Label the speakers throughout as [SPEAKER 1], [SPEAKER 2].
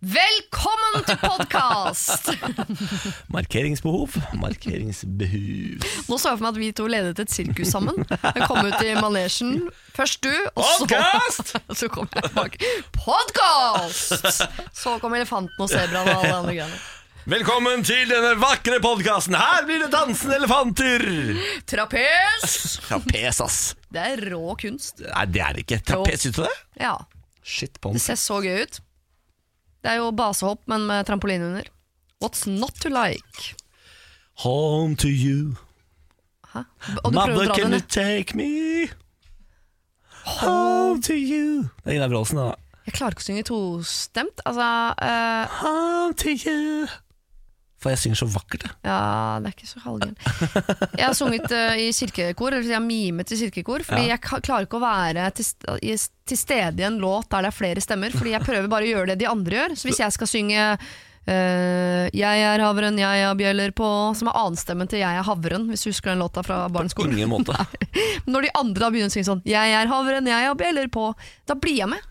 [SPEAKER 1] Velkommen til podkast!
[SPEAKER 2] Markeringsbehov. Markeringsbehov.
[SPEAKER 1] Nå så jeg for meg at vi to ledet et sirkus sammen. Jeg kom ut i manesjen. Først du, og så
[SPEAKER 2] Podcast!
[SPEAKER 1] Så kom jeg tilbake. Podkast! Så kom elefanten og sebraen og alle de andre greiene.
[SPEAKER 2] Velkommen til denne vakre podkasten. Her blir det dansende elefanter!
[SPEAKER 1] Trapes!
[SPEAKER 2] Trapes, ass.
[SPEAKER 1] Det er rå kunst.
[SPEAKER 2] Nei, det er det ikke. Trapes, syns du det?
[SPEAKER 1] Ja,
[SPEAKER 2] Shit, på
[SPEAKER 1] det ser så gøy ut. Det er jo basehopp, men med trampoline under. What's not to like?
[SPEAKER 2] Home to you.
[SPEAKER 1] Hæ? Og du prøver å dra den
[SPEAKER 2] can you
[SPEAKER 1] ned.
[SPEAKER 2] take me home to you? Det er Gunnar Bråsen, det, da.
[SPEAKER 1] Jeg klarer ikke å synge tostemt. Altså, eh,
[SPEAKER 2] Home to you. For jeg synger så vakkert, jeg.
[SPEAKER 1] Ja, det er ikke så halvgærent. Jeg har sunget eh, i kirkekor, eller jeg har mimet i kirkekor, fordi jeg ka- klarer ikke å være til, st- i- til stede i en låt der det er flere stemmer, fordi jeg prøver bare å gjøre det de andre gjør. Så hvis jeg skal synge eh, 'Jeg er havren, jeg har bjeller på', som er annenstemmen til 'Jeg er havren', hvis du husker den låta fra barneskolen.
[SPEAKER 2] Ingen måte.
[SPEAKER 1] Når de andre da begynner å synge sånn 'Jeg er havren, jeg har bjeller på', da blir jeg med.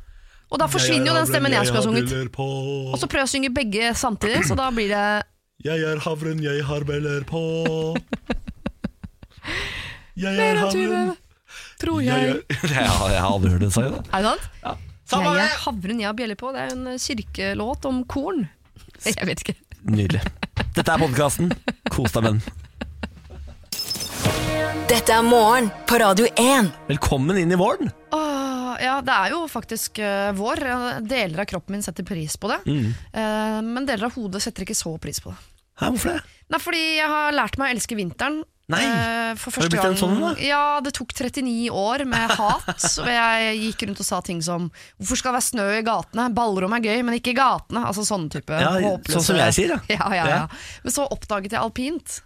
[SPEAKER 1] Og da forsvinner jo den stemmen jeg skulle ha sunget. Og så prøver jeg å synge begge samtidig, så da blir det
[SPEAKER 2] Jeg er havren, jeg har beller på. Jeg
[SPEAKER 1] Mer enn tyve, tror jeg.
[SPEAKER 2] Jeg har jeg har aldri hørt det sagt. da.
[SPEAKER 1] Er det sant?
[SPEAKER 2] Samme
[SPEAKER 1] jeg
[SPEAKER 2] det!
[SPEAKER 1] er havren jeg har bjeller på. Det er jo en eh, kirkelåt om korn. Jeg vet ikke.
[SPEAKER 2] Nydelig. Dette er podkasten. Kos deg med den.
[SPEAKER 3] Dette er morgen på Radio 1.
[SPEAKER 2] Velkommen inn i våren.
[SPEAKER 1] Åh, ja, det er jo faktisk eh, vår. Deler av kroppen min setter pris på det.
[SPEAKER 2] Mm.
[SPEAKER 1] Eh, men deler av hodet setter ikke så pris på det.
[SPEAKER 2] Hæ, hvorfor det?
[SPEAKER 1] Nei, fordi jeg har lært meg å elske vinteren.
[SPEAKER 2] Nei,
[SPEAKER 1] Eh, for
[SPEAKER 2] har du
[SPEAKER 1] første
[SPEAKER 2] blitt en
[SPEAKER 1] gang-
[SPEAKER 2] sånn, da?
[SPEAKER 1] Ja, det tok 39 år med hat. og jeg gikk rundt og sa ting som Hvorfor skal det være snø i gatene? Ballrom er gøy, men ikke i gatene. Altså sånne type
[SPEAKER 2] Ja, sånn som jeg sier, ja.
[SPEAKER 1] ja. Ja, ja,
[SPEAKER 2] Ja.
[SPEAKER 1] Men så oppdaget jeg alpint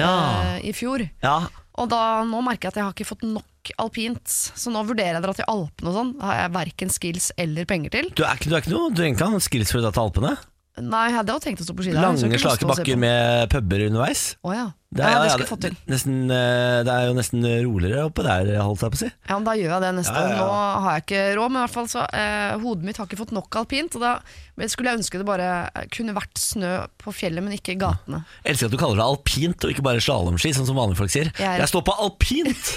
[SPEAKER 2] Ja.
[SPEAKER 1] eh, i fjor.
[SPEAKER 2] ja.
[SPEAKER 1] Og da, nå merker jeg at jeg har ikke fått nok alpint, så nå vurderer jeg dra til Alpene og sånn. Det har jeg verken skills eller penger til.
[SPEAKER 2] Du er ikke, du er ikke noe Du er ikke noe skills for å dra til Alpene?
[SPEAKER 1] Nei, jeg hadde jo tenkt å stå på ski der. så jeg
[SPEAKER 2] Lange,
[SPEAKER 1] kunne stå
[SPEAKER 2] slake
[SPEAKER 1] og se på.
[SPEAKER 2] bakker med puber underveis?
[SPEAKER 1] Å ja.
[SPEAKER 2] er- ja,
[SPEAKER 1] ja, det
[SPEAKER 2] ja,
[SPEAKER 1] skulle jeg fått til.
[SPEAKER 2] Nesten, eh, det er jo nesten roligere oppe der, holdt jeg på å si.
[SPEAKER 1] Ja, men da gjør jeg det neste
[SPEAKER 2] Ja, ja, ja.
[SPEAKER 1] år. Nå har jeg ikke råd, men i hvert fall så eh, hodet mitt har ikke fått nok alpint. Og da skulle jeg ønske det bare eh, kunne vært snø på fjellet, men ikke i gatene.
[SPEAKER 2] Jeg elsker at du kaller det alpint og ikke bare slalåmski, sånn som vanlige folk sier.
[SPEAKER 1] Jeg er-
[SPEAKER 2] Jeg står på alpint!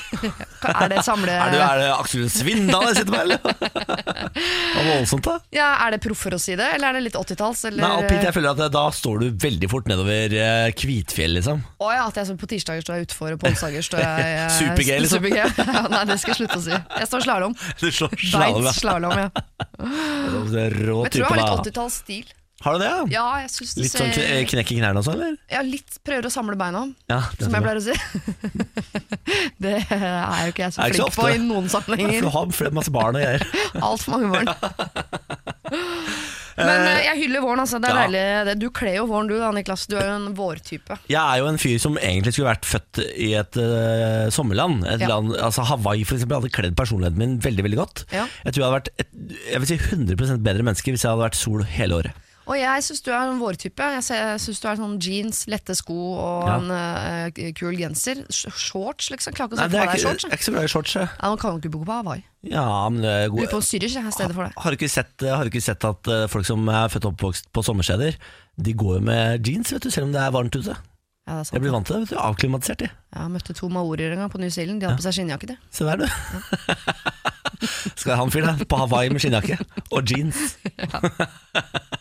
[SPEAKER 1] Er det samle...
[SPEAKER 2] Er det, er det Aksel Svindal jeg sitter med, eller? Det var voldsomt, da.
[SPEAKER 1] Ja, er det proffer å si det, eller er det litt 80-talls? eller-
[SPEAKER 2] Nei, alpint, jeg føler at eh, da står du veldig fort nedover eh, Kvitfjell, liksom.
[SPEAKER 1] Å ja, at jeg så på tirsdager står jeg utfor, og på onsdager står jeg eh,
[SPEAKER 2] Super-G, liksom.
[SPEAKER 1] super-G. ja, nei, det skal jeg slutte å si. Jeg står slalåm.
[SPEAKER 2] Du slår slalåm,
[SPEAKER 1] Beit
[SPEAKER 2] ja.
[SPEAKER 1] slalåm, ja. Men
[SPEAKER 2] Det er Rå
[SPEAKER 1] Jeg tror jeg
[SPEAKER 2] type,
[SPEAKER 1] har litt
[SPEAKER 2] da.
[SPEAKER 1] 80-tallsstil.
[SPEAKER 2] Har du det, ja?
[SPEAKER 1] Ja, jeg synes det
[SPEAKER 2] Litt sånn kne
[SPEAKER 1] ser
[SPEAKER 2] knekk i knærne og sånn, eller?
[SPEAKER 1] Ja, litt prøver å samle beina,
[SPEAKER 2] Ja, det
[SPEAKER 1] som
[SPEAKER 2] tror
[SPEAKER 1] jeg pleier å si. det er jo ikke jeg så
[SPEAKER 2] Er ikke så
[SPEAKER 1] flink på
[SPEAKER 2] ofte.
[SPEAKER 1] i noen
[SPEAKER 2] Ja, for
[SPEAKER 1] sammenhenger.
[SPEAKER 2] Du har flere- masse barn og greier.
[SPEAKER 1] Altfor mange barn. Men eh, jeg hyller våren, altså. Det er
[SPEAKER 2] Ja.
[SPEAKER 1] deilig. det. Du kler jo våren du da, Niklas. Du er jo en vårtype.
[SPEAKER 2] Jeg er jo en fyr som egentlig skulle vært født i et eh, sommerland. Et
[SPEAKER 1] Ja.
[SPEAKER 2] land, altså Hawaii for eksempel hadde kledd personligheten min veldig veldig godt.
[SPEAKER 1] Ja.
[SPEAKER 2] Jeg tror jeg hadde vært et, jeg vil si 100 bedre menneske hvis jeg hadde vært sol hele året.
[SPEAKER 1] Og jeg syns du er en vårtype. Jeg ser- Jeg syns du er sånn jeans, lette sko og
[SPEAKER 2] Ja.
[SPEAKER 1] en eh, kul genser. Sh- Shorts, liksom. Klarer ikke å
[SPEAKER 2] Nei,
[SPEAKER 1] se
[SPEAKER 2] det
[SPEAKER 1] for
[SPEAKER 2] er ikke,
[SPEAKER 1] meg deg i shorts.
[SPEAKER 2] jeg
[SPEAKER 1] jeg.
[SPEAKER 2] er ikke så glad i shorts. jeg.
[SPEAKER 1] Ja, nå kan du ikke bo på Hawaii.
[SPEAKER 2] Ja, men det er
[SPEAKER 1] Du er på
[SPEAKER 2] god.
[SPEAKER 1] en Syrisk, jeg er stedet for det.
[SPEAKER 2] Har du ikke sett, har du ikke sett at eh, folk som er født og oppvokst på sommersteder, de går jo med jeans vet du, selv om det er varmt ute.
[SPEAKER 1] Ja, det er
[SPEAKER 2] Jeg
[SPEAKER 1] sant.
[SPEAKER 2] blir vant til det. vet du, Avklimatisert, de.
[SPEAKER 1] Jeg møtte to maorier en gang på New Zealand. De hadde på seg skinnjakke. de.
[SPEAKER 2] Se der, du. Skal han fyren der på Hawaii med skinnjakke og jeans.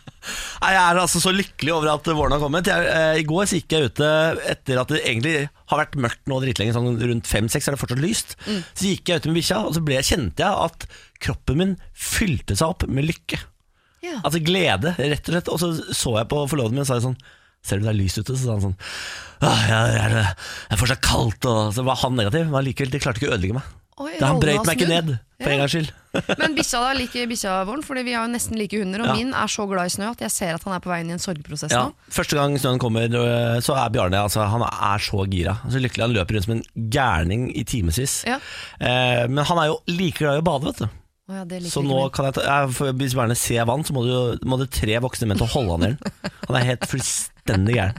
[SPEAKER 2] Nei, Jeg er altså så lykkelig over at våren har kommet. Jeg, eh, I går så gikk jeg ute etter at det egentlig har vært mørkt nå dritlenge, sånn rundt fem-seks er det fortsatt lyst. Så gikk jeg ute med bikkja, og så ble, kjente jeg at kroppen min fylte seg opp med lykke.
[SPEAKER 1] Ja.
[SPEAKER 2] Altså glede, rett og slett. Og så så jeg på forloveden min og sa sånn Ser du det er lyst ute? Så sa han sånn Åh, jeg, jeg, jeg er fortsatt kaldt. Og så var han negativ, men allikevel, det klarte ikke å ødelegge meg.
[SPEAKER 1] Å, Oi,
[SPEAKER 2] Da han
[SPEAKER 1] rollen
[SPEAKER 2] brøyt
[SPEAKER 1] har
[SPEAKER 2] meg ikke
[SPEAKER 1] snudd.
[SPEAKER 2] ned, for en gangs skyld.
[SPEAKER 1] Men bikkja da liker bikkja vår, Fordi vi har jo nesten like hunder. Og
[SPEAKER 2] Ja.
[SPEAKER 1] min er så glad i snø at jeg ser at han er på veien i en sorgprosess
[SPEAKER 2] Ja,
[SPEAKER 1] nå.
[SPEAKER 2] Første gang snøen kommer, øh, så er Bjarne altså, Han er så gira. Så lykkelig han løper rundt som en gærning i timevis.
[SPEAKER 1] Ja.
[SPEAKER 2] Eh, men han er jo like glad i å bade, vet du.
[SPEAKER 1] Å ja, det liker
[SPEAKER 2] Så
[SPEAKER 1] ikke
[SPEAKER 2] nå
[SPEAKER 1] min.
[SPEAKER 2] kan jeg ta, jeg, for Hvis Bjarne ser vann, så må det, jo- må det tre voksne menn til å holde han i den. Han er helt fullstendig gæren.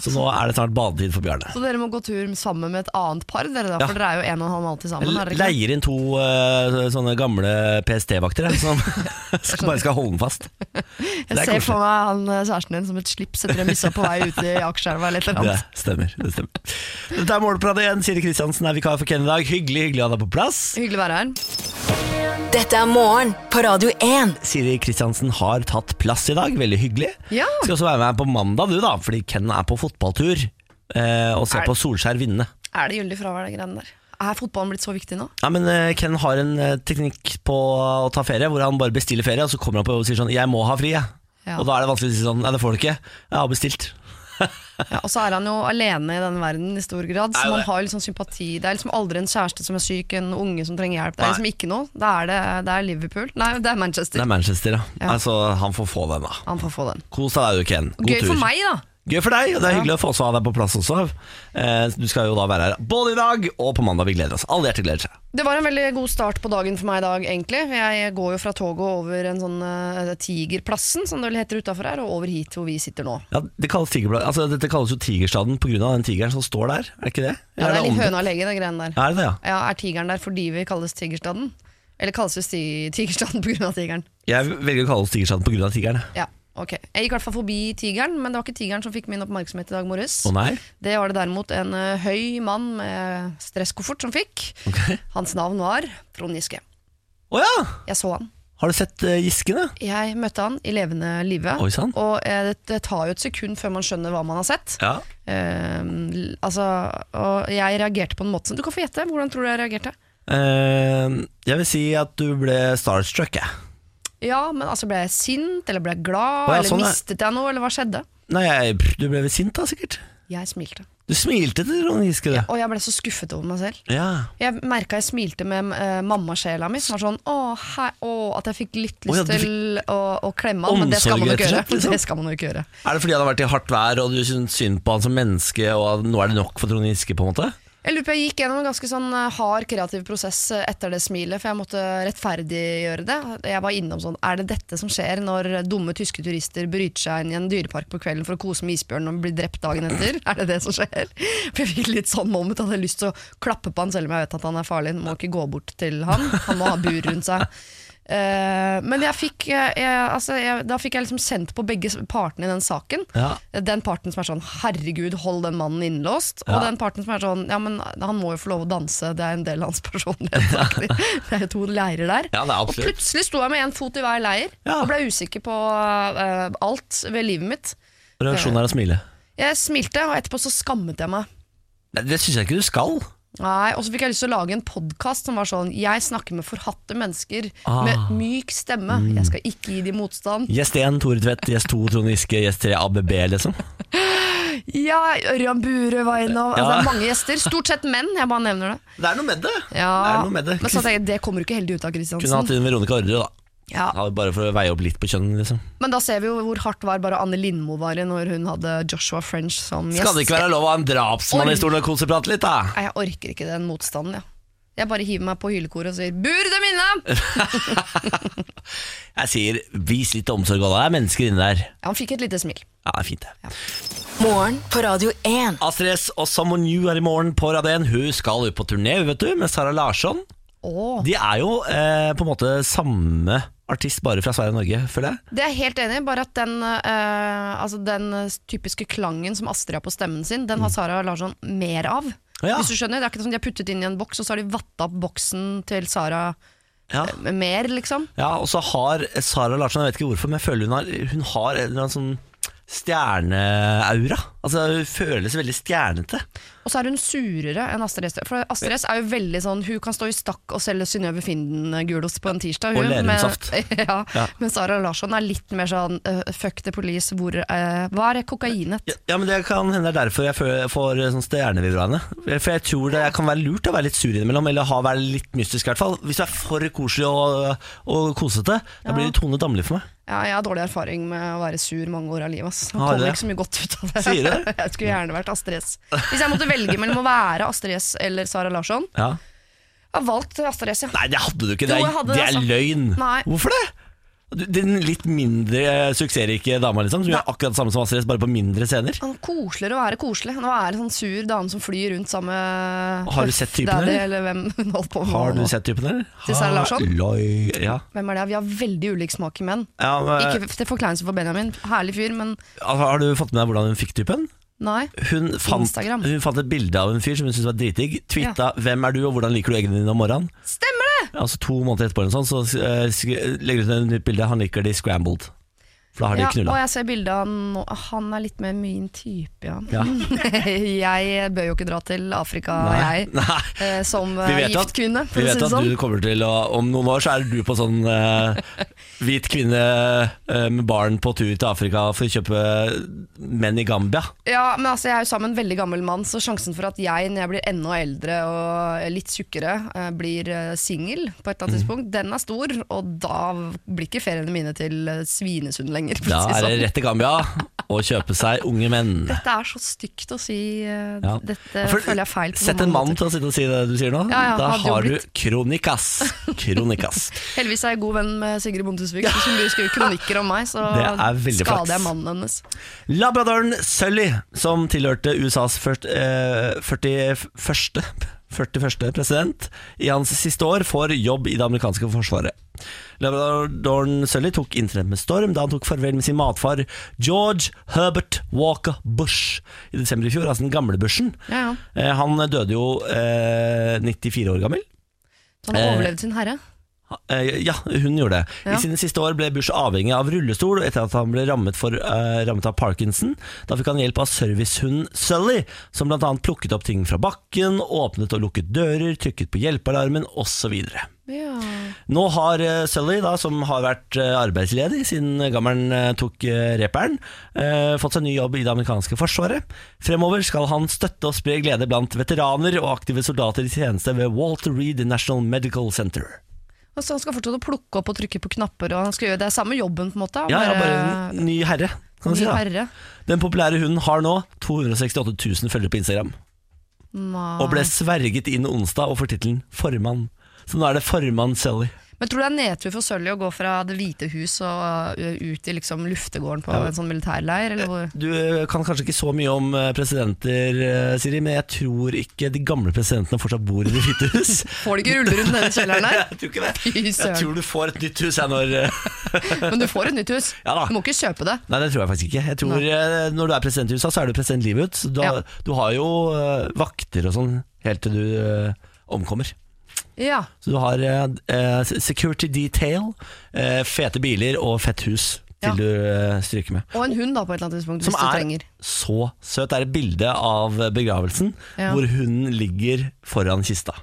[SPEAKER 2] Så nå er det snart badetid for Bjarne.
[SPEAKER 1] Så dere må gå tur sammen med et annet par, dere da,
[SPEAKER 2] Ja.
[SPEAKER 1] for dere er jo en og en halv måned til sammen. er dere
[SPEAKER 2] Jeg
[SPEAKER 1] ikke det?
[SPEAKER 2] leier inn to øh, sånne gamle PST-vakter jeg, som skal, bare skal holde den fast.
[SPEAKER 1] Jeg
[SPEAKER 2] Det er
[SPEAKER 1] ser
[SPEAKER 2] koselig.
[SPEAKER 1] for meg han eh, kjæresten din som et slips etter en bissa på vei ut i Akerselva eller et eller
[SPEAKER 2] Det
[SPEAKER 1] annet.
[SPEAKER 2] stemmer. det stemmer Dette er Målpratet igjen. Siri Kristiansen er vikar for Ken i dag. Hyggelig, hyggelig å ha deg på plass.
[SPEAKER 1] Hyggelig å være her.
[SPEAKER 3] Dette er morgen på Radio 1.
[SPEAKER 2] Siri Kristiansen har tatt plass i dag, veldig hyggelig.
[SPEAKER 1] Ja.
[SPEAKER 2] Skal også være med her på mandag, du da, fordi Ken er på fotballtur eh, og ser
[SPEAKER 1] Er-
[SPEAKER 2] på Solskjær vinne.
[SPEAKER 1] Er det gyldig fravær, det greiene der? Er fotballen blitt så viktig nå?
[SPEAKER 2] Ja, men eh, Ken har en eh, teknikk på å ta ferie, hvor han bare bestiller ferie, og så kommer han på og sier sånn 'jeg må ha fri', jeg.
[SPEAKER 1] Ja.
[SPEAKER 2] Og da er det vanskelig å si sånn 'nei, det får du ikke, jeg har bestilt'.
[SPEAKER 1] Ja, og så er han jo alene i denne verden i stor grad, så
[SPEAKER 2] Er det?
[SPEAKER 1] man har jo litt sånn sympati. Det er liksom aldri en kjæreste som er syk, en unge som trenger hjelp. Det er
[SPEAKER 2] Nei.
[SPEAKER 1] liksom ikke noe. Det er, det, det er Liverpool. Nei, det er
[SPEAKER 2] Det
[SPEAKER 1] Manchester.
[SPEAKER 2] er Manchester, ja.
[SPEAKER 1] Ja.
[SPEAKER 2] Altså, han får få den, da.
[SPEAKER 1] Han får få den.
[SPEAKER 2] Kos deg, du, Ken. God
[SPEAKER 1] Gøy
[SPEAKER 2] tur.
[SPEAKER 1] for meg, da.
[SPEAKER 2] Gøy for deg, og det er hyggelig å få også ha deg på plass også. Eh, du skal jo da være her både i dag og på mandag. Vi gleder oss. Alle hjerter gleder seg.
[SPEAKER 1] Det var en veldig god start på dagen for meg i dag, egentlig. Jeg går jo fra toget over en sånn eh, Tigerplassen, som det vel heter utafor her, og over hit hvor vi sitter nå.
[SPEAKER 2] Ja, det kalles tigerblad. Altså, dette kalles jo Tigerstaden pga. den tigeren som står der, er det ikke det?
[SPEAKER 1] Ja, det er litt
[SPEAKER 2] omvendt?
[SPEAKER 1] høna og legge, det greiene der.
[SPEAKER 2] Er det det, ja?
[SPEAKER 1] Ja, er tigeren der fordi vi kalles Tigerstaden? Eller kalles vi sti- Tigerstaden pga. tigeren?
[SPEAKER 2] Jeg velger å kalle oss Tigerstaden pga. tigeren. jeg.
[SPEAKER 1] Ja, ok. Jeg gikk i hvert fall forbi tigeren, men det var ikke tigeren som fikk min oppmerksomhet i dag morges.
[SPEAKER 2] Å nei?
[SPEAKER 1] Det var det derimot en eh, høy mann med stresskoffert som fikk.
[SPEAKER 2] Ok.
[SPEAKER 1] Hans navn var Trond Giske.
[SPEAKER 2] Å ja!
[SPEAKER 1] Jeg så han.
[SPEAKER 2] Har du sett eh, Giskene?
[SPEAKER 1] Jeg møtte han i levende live.
[SPEAKER 2] Oi sann.
[SPEAKER 1] Og eh, det, det tar jo et sekund før man skjønner hva man har sett.
[SPEAKER 2] Ja.
[SPEAKER 1] Eh, l- altså, og jeg reagerte på en måte som Du kan få gjette. Hvordan tror du jeg reagerte?
[SPEAKER 2] Eh, jeg vil si at du ble starstruck, jeg.
[SPEAKER 1] Ja, men altså Ble jeg sint, eller ble jeg glad,
[SPEAKER 2] Å, ja,
[SPEAKER 1] eller
[SPEAKER 2] sånn, ja.
[SPEAKER 1] mistet jeg noe, eller hva skjedde?
[SPEAKER 2] Nei, jeg, pff, du ble vel sint da, sikkert?
[SPEAKER 1] Jeg smilte.
[SPEAKER 2] Du smilte til Trond Giske, du.
[SPEAKER 1] Og jeg ble så skuffet over meg selv.
[SPEAKER 2] Ja.
[SPEAKER 1] Jeg merka jeg smilte med eh, mammasjela mi, som var sånn å, hei, å, at jeg fikk litt lyst
[SPEAKER 2] Å, ja, du
[SPEAKER 1] til å, å klemme han, men det skal man
[SPEAKER 2] Omsorg,
[SPEAKER 1] jo ikke gjøre.
[SPEAKER 2] rett og slett, liksom.
[SPEAKER 1] Det skal man jo ikke gjøre.
[SPEAKER 2] Er det fordi han har vært i hardt vær, og du syns synd på han som menneske, og at nå er det nok for Trond Giske, på en måte?
[SPEAKER 1] Jeg lurer på, jeg gikk gjennom en ganske sånn eh, hard kreativ prosess eh, etter det smilet, for jeg måtte rettferdiggjøre det. Jeg var innom sånn, er det dette som skjer når dumme tyske turister bryter seg inn i en dyrepark på kvelden for å kose med isbjørn og blir drept dagen etter? Er det det som skjer? For jeg fikk litt sånn moment, jeg hadde lyst til å klappe på han selv om jeg vet at han er farlig, må ikke gå bort til han, han må ha bur rundt seg. Eh, men jeg fikk, eh, jeg, altså, jeg, da fikk jeg liksom sendt på begge partene i den saken.
[SPEAKER 2] Ja.
[SPEAKER 1] Den parten som er sånn 'herregud, hold den mannen innelåst', og
[SPEAKER 2] Ja.
[SPEAKER 1] den parten som er sånn 'ja, men han må jo få lov å danse, det er en del av hans personlighet'. faktisk. Det er jo to leirer der.
[SPEAKER 2] Ja, det er
[SPEAKER 1] og
[SPEAKER 2] absolutt.
[SPEAKER 1] plutselig sto jeg med én fot i hver leir
[SPEAKER 2] Ja.
[SPEAKER 1] og ble usikker på eh, alt ved livet mitt.
[SPEAKER 2] Reaksjonen er å smile.
[SPEAKER 1] Jeg smilte, og etterpå så skammet jeg meg.
[SPEAKER 2] Nei, det syns jeg ikke du skal.
[SPEAKER 1] Nei, Og så fikk jeg lyst til å lage en podkast som var sånn 'jeg snakker med forhatte mennesker
[SPEAKER 2] Ah. Mm.
[SPEAKER 1] med myk stemme'. Jeg skal ikke gi dem motstand.
[SPEAKER 2] Gjest 1 Tore Tvedt, gjest 2 Trond Giske, gjest 3 ABB, liksom.
[SPEAKER 1] Ja, Ørjan Bure var innom. Altså,
[SPEAKER 2] Ja.
[SPEAKER 1] det er mange gjester. Stort sett menn, jeg bare nevner det.
[SPEAKER 2] Det er noe med det. Det
[SPEAKER 1] Ja,
[SPEAKER 2] er noe med det.
[SPEAKER 1] Men så tenker jeg, det kommer jo ikke heldig ut av
[SPEAKER 2] Kunne hatt
[SPEAKER 1] Kristiansen.
[SPEAKER 2] inn Veronica Orderud, da.
[SPEAKER 1] Ja.
[SPEAKER 2] Ja, Bare for å veie opp litt på kjønn, liksom.
[SPEAKER 1] Men da ser vi jo hvor hardt var bare Anne Lindmo var i når hun hadde Joshua French som gjest.
[SPEAKER 2] Skal det ikke være lov å ha en drapsmann
[SPEAKER 1] Oi.
[SPEAKER 2] i stolen og koseprate litt, da?
[SPEAKER 1] Nei, jeg orker ikke den motstanden, ja. Jeg bare hiver meg på hylekoret og sier 'bur dem inne'!
[SPEAKER 2] Jeg sier vis litt omsorg, og det er mennesker inne der.
[SPEAKER 1] Ja, han fikk et lite smil.
[SPEAKER 2] Ja, det er fint, det.
[SPEAKER 3] Morgen på Radio 1.
[SPEAKER 2] Astrid S og Someone New er i morgen på Radio 1. Hun skal ut på turné, vet du, med Sara Larsson.
[SPEAKER 1] Åh.
[SPEAKER 2] De er jo eh, på en måte samme artist, bare fra Sverige og Norge, føler jeg.
[SPEAKER 1] Det er jeg helt enig i, bare at den, eh, altså den eh, typiske klangen som Astrid har på stemmen sin, den har Sara Larsson mer av.
[SPEAKER 2] Mm. Ja.
[SPEAKER 1] Hvis du skjønner, Det er ikke sånn de har puttet inn i en boks, og så har de vatta opp boksen til Sara
[SPEAKER 2] Ja.
[SPEAKER 1] eh, mer, liksom.
[SPEAKER 2] Ja, og så har Sara Larsson, jeg vet ikke hvorfor, men jeg føler hun har, hun har en eller annen sånn stjerneaura. Altså, hun føles veldig stjernete.
[SPEAKER 1] Og så er hun surere enn Astrid S. For Astrid S er jo veldig sånn Hun kan stå i stakk og selge Synnøve Finden-gulost på en tirsdag.
[SPEAKER 2] Og
[SPEAKER 1] Hun,
[SPEAKER 2] lerumsaft.
[SPEAKER 1] men- Ja,
[SPEAKER 2] Ja.
[SPEAKER 1] Men Sara Larsson er litt mer sånn eh, fuck the police, hvor eh, Hva er kokainet?
[SPEAKER 2] Ja, ja, men Det kan hende det er derfor jeg fø- får sånn stjernevibber av henne. For jeg tror det kan være lurt å være litt sur innimellom, eller ha være litt mystisk i hvert fall. Hvis du er for koselig og, og kosete, da blir du Tone Damli for meg.
[SPEAKER 1] Ja, jeg har dårlig erfaring med å være sur mange år av livet. ass. Jeg
[SPEAKER 2] Har du
[SPEAKER 1] kommer
[SPEAKER 2] det?
[SPEAKER 1] ikke så mye godt ut av det.
[SPEAKER 2] Sier du det?
[SPEAKER 1] Jeg skulle gjerne vært Astrid S. Hvis jeg måtte velge mellom å være Astrid S eller Sara Larsson,
[SPEAKER 2] Ja.
[SPEAKER 1] jeg har valgt Astrid S, ja.
[SPEAKER 2] Nei, det hadde du ikke.
[SPEAKER 1] Jo,
[SPEAKER 2] Det
[SPEAKER 1] jeg
[SPEAKER 2] er,
[SPEAKER 1] hadde
[SPEAKER 2] det
[SPEAKER 1] det,
[SPEAKER 2] er
[SPEAKER 1] altså.
[SPEAKER 2] løgn.
[SPEAKER 1] Nei.
[SPEAKER 2] Hvorfor det? Du- Den litt mindre eh, suksessrike dama, liksom, som gjør akkurat det samme som Astrid S, bare på mindre scener.
[SPEAKER 1] Han er Sånn koseligere å være koselig. Nå er det en sånn sur dame som flyr rundt sammen med
[SPEAKER 2] Har du sett typen,
[SPEAKER 1] Daddy,
[SPEAKER 2] eller?
[SPEAKER 1] eller? hvem hun holdt på med.
[SPEAKER 2] Har du
[SPEAKER 1] nå.
[SPEAKER 2] sett typen, eller?
[SPEAKER 1] Til Sara Larsson?
[SPEAKER 2] Halloi. Ja.
[SPEAKER 1] Hvem er det? Vi har veldig ulik smak i menn.
[SPEAKER 2] Ja, men, eh,
[SPEAKER 1] Ikke til forkleinelse for Benjamin, herlig fyr, men
[SPEAKER 2] har du fått med deg hvordan hun fikk typen?
[SPEAKER 1] nei.
[SPEAKER 2] Hun fant,
[SPEAKER 1] Instagram.
[SPEAKER 2] hun fant et bilde av en fyr som hun syntes var dritdigg. Twitta 'Hvem er du, og hvordan liker du eggene dine om morgenen?'
[SPEAKER 1] Stemmer det!
[SPEAKER 2] Altså To måneder etterpå eller noe sånt, så eh, sk- legger hun ut et nytt bilde. Han liker de scrambled. For da har de
[SPEAKER 1] Ja, og
[SPEAKER 2] knulla.
[SPEAKER 1] jeg ser bildet av han nå. Han er litt mer min type, ja.
[SPEAKER 2] Ja.
[SPEAKER 1] jeg bør jo ikke dra til Afrika,
[SPEAKER 2] Nei.
[SPEAKER 1] jeg.
[SPEAKER 2] Nei.
[SPEAKER 1] eh, Som
[SPEAKER 2] Vi
[SPEAKER 1] eh,
[SPEAKER 2] vet
[SPEAKER 1] gift
[SPEAKER 2] at,
[SPEAKER 1] kvinne,
[SPEAKER 2] vi
[SPEAKER 1] for å
[SPEAKER 2] vet
[SPEAKER 1] si det
[SPEAKER 2] at
[SPEAKER 1] sånn.
[SPEAKER 2] du kommer til å Om noen år så er du på sånn eh, hvit kvinne eh, med barn på tur til Afrika for å kjøpe menn i Gambia.
[SPEAKER 1] Ja, men altså, jeg er jo sammen med en veldig gammel mann, så sjansen for at jeg, når jeg blir enda eldre og litt tjukkere, eh, blir eh, singel på et eller
[SPEAKER 2] Mm.
[SPEAKER 1] annet tidspunkt, den er stor, og da blir ikke feriene mine til eh, Svinesund lenger. for å
[SPEAKER 2] Da
[SPEAKER 1] si
[SPEAKER 2] er det
[SPEAKER 1] sånn.
[SPEAKER 2] rett til Gambia og kjøpe seg unge menn.
[SPEAKER 1] Dette er så stygt å si. eh,
[SPEAKER 2] Ja.
[SPEAKER 1] Dette
[SPEAKER 2] For-
[SPEAKER 1] føler jeg er feil. på
[SPEAKER 2] Sett
[SPEAKER 1] mange
[SPEAKER 2] en mann
[SPEAKER 1] måter.
[SPEAKER 2] til å sitte og si det du sier nå.
[SPEAKER 1] Ja, ja,
[SPEAKER 2] da
[SPEAKER 1] hadde jo
[SPEAKER 2] har du
[SPEAKER 1] blitt.
[SPEAKER 2] kronikas. Kronikas.
[SPEAKER 1] Heldigvis er jeg god venn med Sigrid Bonde Tusvik, så hvis hun blir skrive kronikker om meg, så
[SPEAKER 2] Det er veldig flaks.
[SPEAKER 1] skader jeg mannen hennes.
[SPEAKER 2] Labradoren Sully, som tilhørte USAs først, eh, 41. 41. president i hans siste år, får jobb i det amerikanske forsvaret. Labradoren Sully tok internett med storm da han tok farvel med sin matfar George Herbert Walker Bush i desember i fjor, altså den gamle Bushen.
[SPEAKER 1] Ja, ja.
[SPEAKER 2] Eh, han døde jo eh, 94 år gammel.
[SPEAKER 1] Så han
[SPEAKER 2] Eh,
[SPEAKER 1] har overlevd sin herre.
[SPEAKER 2] Eh, Ja, hun gjorde det.
[SPEAKER 1] Ja.
[SPEAKER 2] I sine siste år ble Bush avhengig av rullestol etter at han ble rammet, for, eh, rammet av parkinson. Da fikk han hjelp av servicehunden Sully, som bl.a. plukket opp ting fra bakken, åpnet og lukket dører, trykket på hjelpealarmen osv.
[SPEAKER 1] Ja.
[SPEAKER 2] Nå har eh, Sully, da, som har vært eh, arbeidsledig siden gammelen eh, tok eh, reperen, eh, fått seg ny jobb i det amerikanske forsvaret. Fremover skal han støtte og spre glede blant veteraner og aktive soldater i tjeneste ved Walter Reed National Medical Center.
[SPEAKER 1] Og så han skal fortsette å plukke opp og trykke på knapper, og han skal gjøre det er samme jobben, på en måte.
[SPEAKER 2] Ja, ja, bare en ny herre, kan du si.
[SPEAKER 1] Ny
[SPEAKER 2] da
[SPEAKER 1] herre.
[SPEAKER 2] Den populære hunden har nå 268 000 følgere på Instagram,
[SPEAKER 1] Nei.
[SPEAKER 2] og ble sverget inn onsdag og får tittelen 'Formann'. Så nå er det formann Sully.
[SPEAKER 1] Men tror du det er nedtur for Sølje å gå fra Det hvite hus og ø, ut i liksom luftegården på en sånn militærleir? Eller hvor?
[SPEAKER 2] Du eh, kan kanskje ikke så mye om eh, presidenter, eh, Siri, men jeg tror ikke de gamle presidentene fortsatt bor i Det hvite hus.
[SPEAKER 1] Får du ikke rulle rundt nede i kjelleren der?
[SPEAKER 2] Jeg tror ikke det.
[SPEAKER 1] Fy
[SPEAKER 2] Jeg
[SPEAKER 1] søren.
[SPEAKER 2] tror du får et nytt hus jeg når eh,
[SPEAKER 1] Men du får et nytt hus.
[SPEAKER 2] Ja da.
[SPEAKER 1] Du må ikke kjøpe det.
[SPEAKER 2] Nei, det tror jeg faktisk ikke. Jeg tror
[SPEAKER 1] Nei.
[SPEAKER 2] eh, Når du er president i USA, så er du president livet ut. Så Du, har-
[SPEAKER 1] Ja.
[SPEAKER 2] du har jo eh, vakter og sånn helt til du eh, omkommer.
[SPEAKER 1] Ja.
[SPEAKER 2] Så du har eh, eh, security detail, eh, fete biler og fett hus til
[SPEAKER 1] Ja.
[SPEAKER 2] du eh, stryker med.
[SPEAKER 1] Og en hund, da, på et eller annet tidspunkt,
[SPEAKER 2] Som
[SPEAKER 1] hvis du
[SPEAKER 2] er
[SPEAKER 1] trenger.
[SPEAKER 2] så søt. Det er et bilde av begravelsen
[SPEAKER 1] Ja.
[SPEAKER 2] hvor hunden ligger foran kista.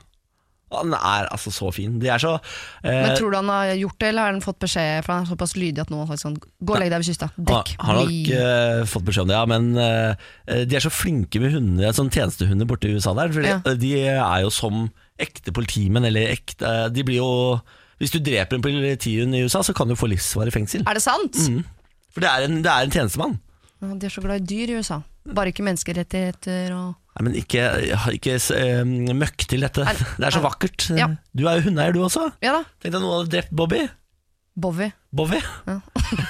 [SPEAKER 2] Han er altså så fin. De er så eh,
[SPEAKER 1] Men tror du han har gjort det, eller har han fått beskjed? For han er såpass lydig at nå har han sagt sånn Gå og legg deg ved kysta. Dekk.
[SPEAKER 2] han har nok
[SPEAKER 1] bli-
[SPEAKER 2] eh, fått beskjed om det, ja, men eh, de er så flinke med hunder, sånn tjenestehunder borte i USA der. For
[SPEAKER 1] Ja.
[SPEAKER 2] de er jo som ekte politimenn, eller ekte De blir jo Hvis du dreper en politihund i USA, så kan du få livsvarig fengsel.
[SPEAKER 1] Er det sant?
[SPEAKER 2] Mm. For det er en, det er en tjenestemann.
[SPEAKER 1] Ja, De er så glad i dyr i USA. Bare ikke menneskerettigheter og
[SPEAKER 2] Nei, men ikke, ikke eh, møkk til dette.
[SPEAKER 1] Nei,
[SPEAKER 2] det er så
[SPEAKER 1] nei.
[SPEAKER 2] vakkert.
[SPEAKER 1] Ja.
[SPEAKER 2] Du er jo hundeeier, du også.
[SPEAKER 1] Ja da,
[SPEAKER 2] Tenk deg noen hadde drept Bobby.
[SPEAKER 1] Bowie.
[SPEAKER 2] Bobby?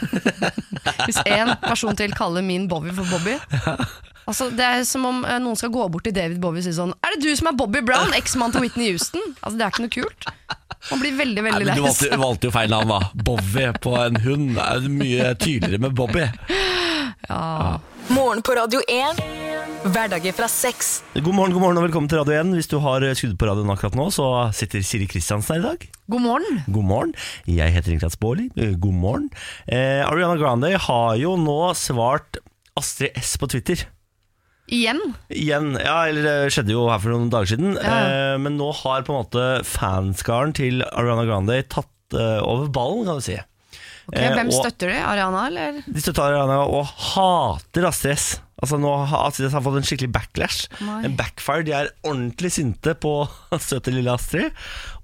[SPEAKER 1] Hvis én person til kaller min Bobby for Bobby Altså, Det er som om eh, noen skal gå bort til David Bobby og si sånn Er det du som er Bobby Brown, eksmannen til Whitney Houston? Altså, Det er ikke noe kult. Man blir veldig,
[SPEAKER 2] Nei,
[SPEAKER 1] veldig
[SPEAKER 2] men du
[SPEAKER 1] lei
[SPEAKER 2] valgte,
[SPEAKER 1] seg.
[SPEAKER 2] valgte jo feil navn, da. Bobby på en hund. Det er mye tydeligere med Bobby.
[SPEAKER 3] Morgen på Radio 1. Hverdager fra seks.
[SPEAKER 2] God morgen god morgen og velkommen til Radio 1. Hvis du har eh, skrudd på radioen akkurat nå, så sitter Siri Kristiansen her i dag.
[SPEAKER 1] God morgen.
[SPEAKER 2] God morgen. Jeg heter Ingrid Baarli. Eh, God morgen. Eh, Ariana Grande har jo nå svart Astrid S på Twitter.
[SPEAKER 1] Igjen.
[SPEAKER 2] Igjen. Ja, eller det skjedde jo her for noen dager siden.
[SPEAKER 1] Ja.
[SPEAKER 2] Eh, men nå har på en måte fanskaren til Ariana Grande tatt eh, over ballen, kan du si.
[SPEAKER 1] Ok,
[SPEAKER 2] Eh,
[SPEAKER 1] hvem
[SPEAKER 2] og-
[SPEAKER 1] støtter de? Ariana, eller?
[SPEAKER 2] De støtter Ariana og hater Astrid S. Altså nå har Astrid S har fått en skikkelig backlash.
[SPEAKER 1] Nei.
[SPEAKER 2] En backfire. De er ordentlig sinte på søte lille Astrid.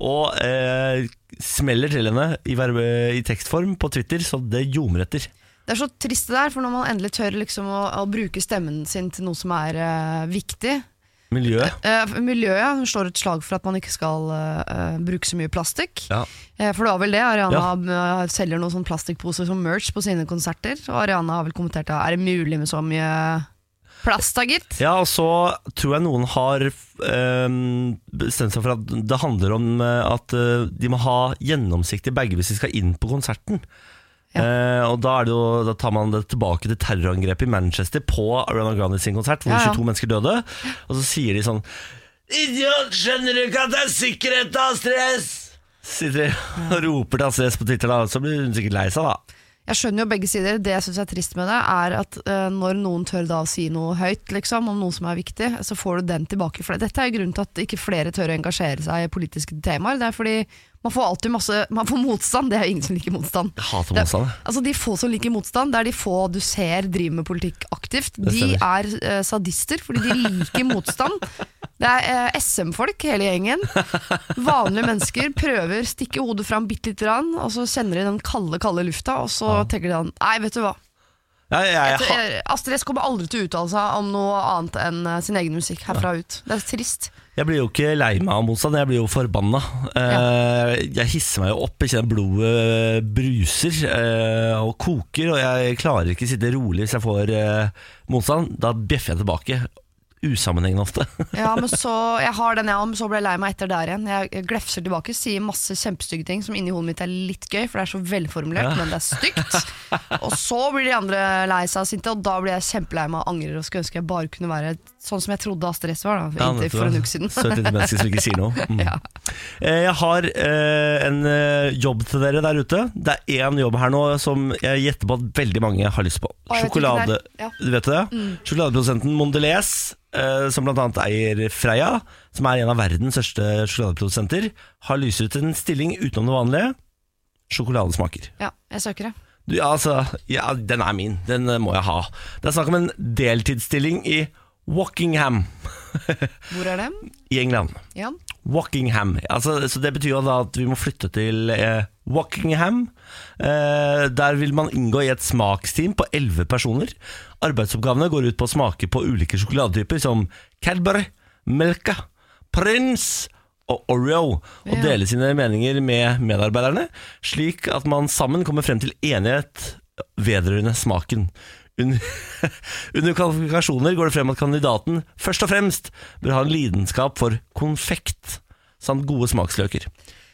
[SPEAKER 2] Og eh, smeller til henne i, verbe, i tekstform på Twitter, så det ljomer etter.
[SPEAKER 1] Det er så trist det der, for når man endelig tør liksom å, å bruke stemmen sin til noe som er eh, viktig
[SPEAKER 2] Miljøet.
[SPEAKER 1] eh, Miljøet hun slår et slag for at man ikke skal eh, eh, bruke så mye plastikk.
[SPEAKER 2] Ja.
[SPEAKER 1] Eh, for det var vel det. Ariana eh, selger noen sånn plastikkposer som merch på sine konserter. Og Ariana har vel kommentert at er det mulig med så mye plast, da, gitt?
[SPEAKER 2] Ja, og så tror jeg noen har øhm, bestemt seg for at det handler om øh, at øh, de må ha gjennomsiktige bager hvis de skal inn på konserten.
[SPEAKER 1] Ja.
[SPEAKER 2] Eh, og da, er det jo, da tar man det tilbake til terrorangrepet i Manchester på Ariana Grande sin konsert, hvor
[SPEAKER 1] Ja, ja.
[SPEAKER 2] 22 mennesker døde. Og så sier de sånn Idiot, skjønner du ikke at det er sikkerhet av stress? Sitter de og roper til Astrid S på Twitter, da. Så blir hun sikkert lei seg, da.
[SPEAKER 1] Jeg skjønner jo begge sider. Det jeg syns er trist med det, er at eh, når noen tør da å si noe høyt liksom, om noe som er viktig, så får du den tilbake. For dette er jo grunnen til at ikke flere tør å engasjere seg i politiske temaer. Det er fordi man får alltid masse Man får motstand. Det er jo ingen som liker motstand.
[SPEAKER 2] Jeg hater
[SPEAKER 1] Det-
[SPEAKER 2] motstand. jeg.
[SPEAKER 1] Altså De få som liker motstand, det er de få du ser driver med politikk aktivt. De er eh, sadister fordi de liker motstand. Det er eh, SM-folk, hele gjengen. Vanlige mennesker prøver, stikker hodet fram bitte lite grann, og så kjenner de den kalde, kalde lufta, og så tenker de sånn Nei, vet du hva.
[SPEAKER 2] Ja, jeg, jeg,
[SPEAKER 1] Vet du,
[SPEAKER 2] ha-
[SPEAKER 1] jeg- Astrid S kommer aldri til å uttale seg om noe annet enn eh, sin egen musikk herfra ut. Det er trist.
[SPEAKER 2] Jeg blir jo ikke lei meg av motstand, jeg blir jo forbanna. Eh, Jeg hisser meg jo opp, jeg kjenner blodet bruser eh, og koker, og jeg klarer ikke sitte rolig hvis jeg får eh, motstand. Da bjeffer jeg tilbake. Usammenhengende ofte.
[SPEAKER 1] Ja, men så, Jeg har den jeg har, men så ble jeg lei meg etter der igjen. Jeg jeg glefser tilbake, sier masse kjempestygge ting som inni hodet mitt er litt gøy, for det er så velformulert, men det er stygt. Og så blir de andre lei seg og sinte, og da blir jeg kjempelei meg og angrer og skulle ønske jeg bare kunne være sånn som jeg trodde Astrid S var, da,
[SPEAKER 2] Ja, vet
[SPEAKER 1] inntil
[SPEAKER 2] du
[SPEAKER 1] for
[SPEAKER 2] hva?
[SPEAKER 1] en uke siden.
[SPEAKER 2] Søt lite menneske som ikke sier noe. Mm.
[SPEAKER 1] Ja.
[SPEAKER 2] Eh, Jeg har eh, en eh, jobb til dere der ute. Det er én jobb her nå som jeg gjetter på at veldig mange har lyst på.
[SPEAKER 1] Å, jeg vet hvilken
[SPEAKER 2] Sjokolade,
[SPEAKER 1] det er. Ja. Mm.
[SPEAKER 2] du vet det? Sjokoladeprodusenten Mondelez, eh, som bl.a. eier Freia, som er en av verdens største sjokoladeprodusenter, har lyst ut en stilling utenom det vanlige. Sjokoladesmaker.
[SPEAKER 1] ja, jeg søker det.
[SPEAKER 2] Du, ja, altså, ja, den er min. Den eh, må jeg ha. Det er snakk om en deltidsstilling i Walkingham
[SPEAKER 1] Hvor er det?
[SPEAKER 2] i England.
[SPEAKER 1] Ja.
[SPEAKER 2] Walkingham. Altså, så det betyr jo da at vi må flytte til eh, Walkingham. Eh, der vil man inngå i et smaksteam på elleve personer. Arbeidsoppgavene går ut på å smake på ulike sjokoladetyper som Cadbury, Melka, Prince og Oreo, og
[SPEAKER 1] Ja.
[SPEAKER 2] dele sine meninger med medarbeiderne, slik at man sammen kommer frem til enighet vedrørende smaken. Under, under kvalifikasjoner går det frem at kandidaten først og fremst bør ha en lidenskap for konfekt samt gode smaksløker.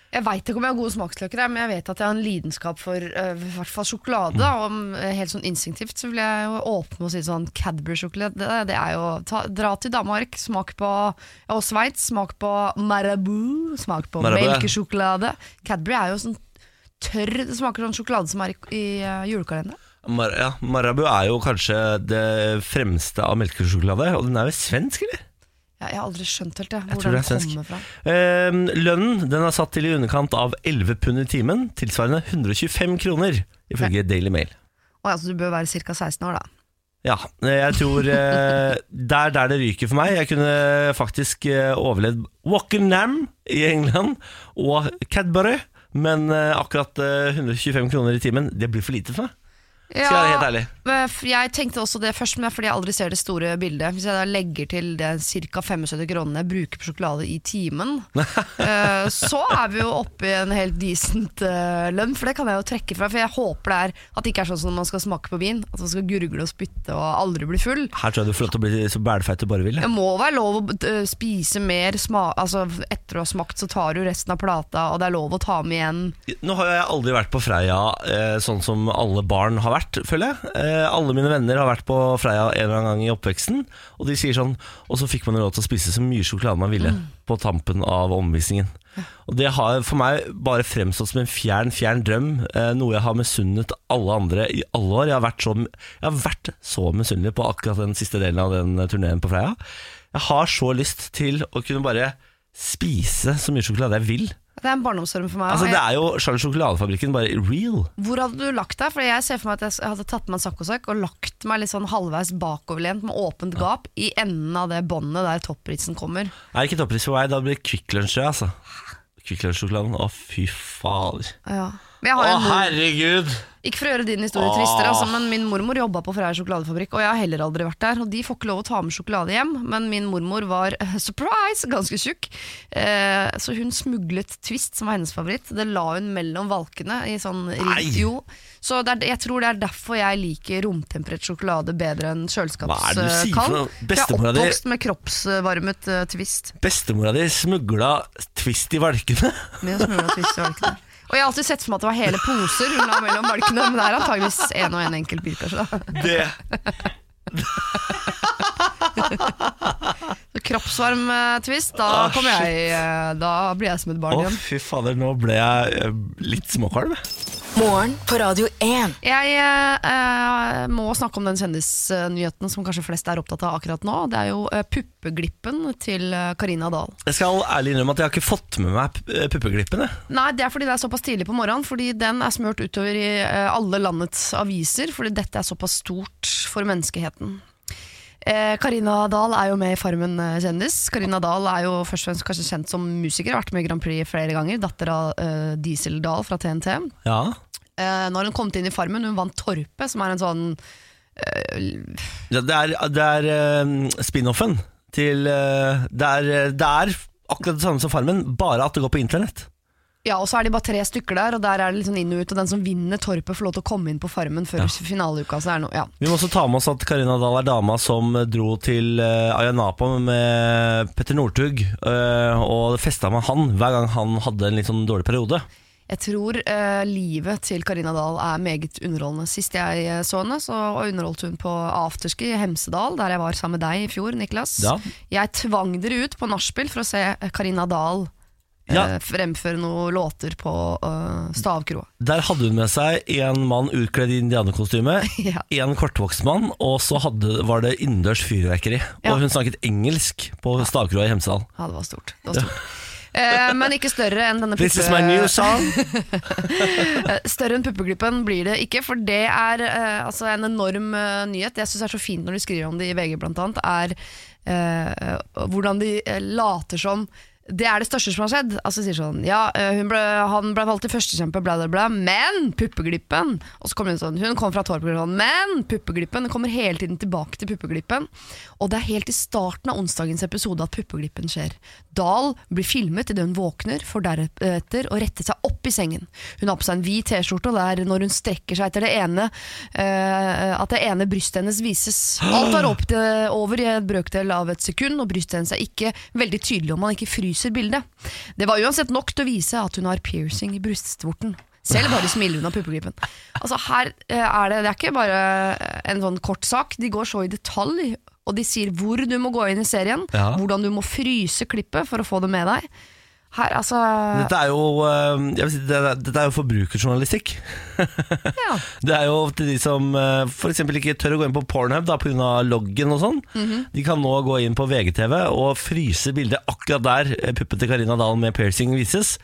[SPEAKER 1] Jeg veit ikke om jeg har gode smaksløker, her, men jeg vet at jeg har en lidenskap for øh, i hvert fall sjokolade. da, Og mm, helt sånn instinktivt så vil jeg jo åpne med å si sånn Cadbury-sjokolade. Det, det er jo ta, Dra til Danmark, smak på Og Sveits, smak på Marabou, smak på
[SPEAKER 2] Marabou, ja.
[SPEAKER 1] melkesjokolade. Cadbury er jo sånn tørr Det smaker sånn sjokolade som er i, i øh, julekalenderen.
[SPEAKER 2] Mar ja, Marabou er jo kanskje det fremste av melkesjokolade, og den er jo svensk, eller?
[SPEAKER 1] Jeg, jeg har aldri skjønt helt det,
[SPEAKER 2] Jeg
[SPEAKER 1] hvor
[SPEAKER 2] tror det
[SPEAKER 1] den
[SPEAKER 2] er svensk.
[SPEAKER 1] kommer fra.
[SPEAKER 2] Eh, lønnen den er satt til i underkant av 11 pund i timen, tilsvarende 125 kroner, ifølge Daily Mail.
[SPEAKER 1] Å, ja, så du bør være ca. 16 år, da.
[SPEAKER 2] Ja, jeg tror eh, det er der det ryker for meg. Jeg kunne faktisk eh, overlevd Wackenham i England og Cadbury, men eh, akkurat eh, 125 kroner i timen, det blir for lite for meg. Skal jeg være helt ærlig.
[SPEAKER 1] Men f- Jeg tenkte også det først, men det er fordi jeg aldri ser det store bildet. Hvis jeg da legger til det ca. 75 kronene jeg bruker på sjokolade i timen, eh, så er vi jo oppe i en helt decent eh, lønn. For det kan jeg jo trekke fra. For jeg håper det er at det ikke er sånn som når man skal smake på vin. At man skal gurgle og spytte og aldri bli full.
[SPEAKER 2] Her tror jeg du får lov til å bli så bælfeit du bare vil.
[SPEAKER 1] Det må være lov å eh, spise mer sma altså, etter å ha smakt, så tar du resten av plata, og det er lov å ta med igjen.
[SPEAKER 2] Nå har jeg aldri vært på Freia eh, sånn som alle barn har vært, føler jeg. Eh, alle mine venner har vært på Freia en eller annen gang i oppveksten. Og de sier sånn Og så fikk man råd til å spise så mye sjokolade man ville på tampen av omvisningen. Og det har for meg bare fremstått som en fjern, fjern drøm. Eh, noe jeg har misunnet alle andre i alle år. Jeg har vært så, jeg har vært så misunnelig på akkurat den siste delen av den eh, turneen på Freia. Jeg har så lyst til å kunne bare spise så mye sjokolade jeg vil.
[SPEAKER 1] Det er en barndomsform for meg.
[SPEAKER 2] Altså
[SPEAKER 1] og
[SPEAKER 2] Det
[SPEAKER 1] jeg,
[SPEAKER 2] er jo Charles Sjokoladefabrikken, bare real.
[SPEAKER 1] hvor hadde du lagt deg? For jeg ser for meg at jeg hadde tatt meg en saccosekk og lagt meg litt sånn halvveis bakoverlent med åpent gap i enden av det båndet der toppritsen kommer.
[SPEAKER 2] Er det ikke toppris for meg, da blir det Kvikk Lunsj, jeg, altså. Kvikk Lunsj-sjokoladen. Å, fy fader.
[SPEAKER 1] Ja. Men
[SPEAKER 2] Å,
[SPEAKER 1] jeg har jo en mor,
[SPEAKER 2] herregud!
[SPEAKER 1] ikke for å gjøre din historie
[SPEAKER 2] Åh.
[SPEAKER 1] tristere, altså, men min mormor jobba på Freia sjokoladefabrikk, og jeg har heller aldri vært der. Og de får ikke lov å ta med sjokolade hjem, men min mormor var eh, surprise, ganske tjukk. Eh, så hun smuglet Twist, som var hennes favoritt. Det la hun mellom valkene. I sånn ri-
[SPEAKER 2] Nei.
[SPEAKER 1] Jo. Så det er, jeg tror det er derfor jeg liker romtemperert sjokolade bedre enn kjøleskapskald.
[SPEAKER 2] Hva er det du sier for noe?
[SPEAKER 1] Jeg er
[SPEAKER 2] Bestemora di-
[SPEAKER 1] oppvokst med kroppsvarmet eh, Twist.
[SPEAKER 2] Bestemora di smugla Twist i valkene.
[SPEAKER 1] Med smør og twist i valkene. Og jeg har alltid sett for meg at det var hele poser hun la mellom valkene, men det er antageligvis en og en enkelt bit, kanskje. da.
[SPEAKER 2] Det
[SPEAKER 1] Så kroppsvarm eh, twist, da
[SPEAKER 2] Ah,
[SPEAKER 1] kommer jeg eh, Da blir jeg som et
[SPEAKER 2] Å,
[SPEAKER 1] barn igjen.
[SPEAKER 2] fy fader, nå ble jeg eh, litt småkvalm. jeg.
[SPEAKER 3] Morgen på Radio 1.
[SPEAKER 1] Jeg eh, eh, må snakke om den kjendisnyheten som kanskje flest er opptatt av akkurat nå. Det er jo eh, puppeglippen til eh, Karina Dahl.
[SPEAKER 2] Jeg skal ærlig innrømme at jeg har ikke fått med meg p- eh, puppeglippen. jeg.
[SPEAKER 1] Nei, det er fordi det er såpass tidlig på morgenen, fordi den er smørt utover i eh, alle landets aviser, fordi dette er såpass stort for menneskeheten. Eh, Karina Dahl er jo med i Farmen eh, kjendis. Karina Dahl er jo først og fremst kanskje kjent som musiker, har vært med i Grand Prix flere ganger, datter av eh, Diesel Dahl fra TNT.
[SPEAKER 2] Ja.
[SPEAKER 1] Eh, når hun kom inn i Farmen, hun vant Torpet, som er en sånn
[SPEAKER 2] Det det er, det er eh, spin-offen til eh, det, er, det er akkurat det samme som Farmen, bare at det går på internett.
[SPEAKER 1] Ja, og så er de bare tre stykker der, og der er det litt sånn inn og ut, og den som vinner Torpet får lov til å komme inn på Farmen før finaleuka, så det er noe, ja.
[SPEAKER 2] Vi må også ta med oss at Karina Dahl er dama som dro til eh, Ayia Napa med Petter Northug eh, og festa med han hver gang han hadde en litt sånn dårlig periode.
[SPEAKER 1] Jeg tror eh, livet til Karina Dahl er meget underholdende. Sist jeg eh, så henne, så underholdt hun på afterski i Hemsedal, der jeg var sammen med deg i fjor, Niklas.
[SPEAKER 2] Ja.
[SPEAKER 1] Jeg tvang dere ut på nachspiel for å se eh, Karina Dahl eh,
[SPEAKER 2] Ja.
[SPEAKER 1] fremføre noen låter på eh, stavkroa.
[SPEAKER 2] Der hadde hun med seg en mann utkledd i indianerkostyme,
[SPEAKER 1] Ja.
[SPEAKER 2] en kortvokst mann, og så hadde, var det innendørs fyrverkeri.
[SPEAKER 1] Ja.
[SPEAKER 2] Og hun snakket engelsk på stavkroa i Hemsedal.
[SPEAKER 1] Ja, det var stort. Det var stort. Eh, men ikke større enn denne
[SPEAKER 2] This is
[SPEAKER 1] puppe-
[SPEAKER 2] my new song.
[SPEAKER 1] Eh, Større enn puppeglippen blir det ikke, for det er eh, altså en enorm eh, nyhet. Det jeg syns er så fint når de skriver om det i VG, blant annet, er eh, hvordan de eh, later som det er det største som har skjedd. Altså sier sånn, ja, eh, hun ble, Han ble valgt til førstekjempe, bla, bla, bla, men puppeglippen! Og så kommer hun sånn, hun kom fra Torp, sånn, men puppeglippen! Det kommer hele tiden tilbake til puppeglippen. Og det er helt i starten av onsdagens episode at puppeglippen skjer. Dahl blir filmet idet hun våkner, for deretter å rette seg opp i sengen. Hun har på seg en hvit T-skjorte, og det er når hun strekker seg etter det ene, eh, at det ene brystet hennes vises. Alt er opp til, over i en brøkdel av et sekund, og brystet hennes er ikke veldig tydelig om man ikke fryser bildet. Det var uansett nok til å vise at hun har piercing i brystvorten. Selv bare smiler hun av puppegripen. Altså her eh, er det, det er ikke bare en sånn kort sak, de går så i detalj, og de sier hvor du må gå inn i serien,
[SPEAKER 2] Ja.
[SPEAKER 1] hvordan du må fryse klippet for å få det med deg. Her, altså
[SPEAKER 2] Dette er jo, eh, jeg vil si, det er- dette er jo forbrukerjournalistikk.
[SPEAKER 1] ja.
[SPEAKER 2] Det er jo til de som f.eks. ikke tør å gå inn på Pornhub pga. loggen og sånn.
[SPEAKER 1] Mhm.
[SPEAKER 2] De kan nå gå inn på VGTV og fryse bildet akkurat der eh, puppen til Karina Dahl med piercing vises.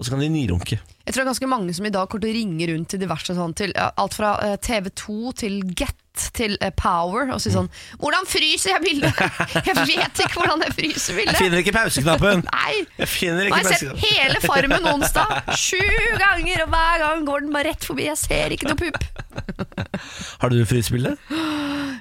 [SPEAKER 2] Og så kan de nyrunke.
[SPEAKER 1] Jeg tror det er ganske mange som i dag kommer til å ringe rundt til diverse sånn til ja, Alt fra eh, TV2 til Get til eh, Power og si
[SPEAKER 2] Mm.
[SPEAKER 1] sånn Hvordan fryser jeg bildet?! Jeg vet ikke hvordan jeg fryser
[SPEAKER 2] Jeg
[SPEAKER 1] bildet!
[SPEAKER 2] finner ikke pauseknappen!
[SPEAKER 1] Nei!
[SPEAKER 2] Jeg finner
[SPEAKER 1] Nå
[SPEAKER 2] ikke
[SPEAKER 1] har jeg sett
[SPEAKER 2] pauseknappen
[SPEAKER 1] hele Farmen onsdag! Sju ganger, og hver gang går den bare rett forbi. Jeg ser ikke noe pupp.
[SPEAKER 2] Har du frysebilde?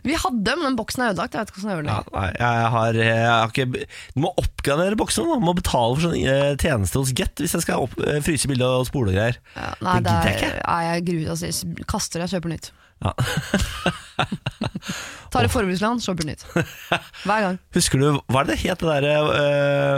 [SPEAKER 1] Vi hadde, men den boksen er ødelagt. Jeg vet ikke hvordan jeg gjør det.
[SPEAKER 2] Ja, nei, jeg har, eh, jeg har ikke Du må oppgradere boksene. da. Du Må betale for sånn eh, tjeneste hos Get hvis jeg skal opp, eh, fryse bilde og spole og greier.
[SPEAKER 1] Ja, nei,
[SPEAKER 2] Det
[SPEAKER 1] det
[SPEAKER 2] gidder jeg
[SPEAKER 1] er, nei, jeg gruer altså, jeg kaster det, jeg kjøper nytt.
[SPEAKER 2] Ja.
[SPEAKER 1] Tar et forbrukslån, kjøper nytt. Hver gang.
[SPEAKER 2] Husker du, hva er det het det derre eh,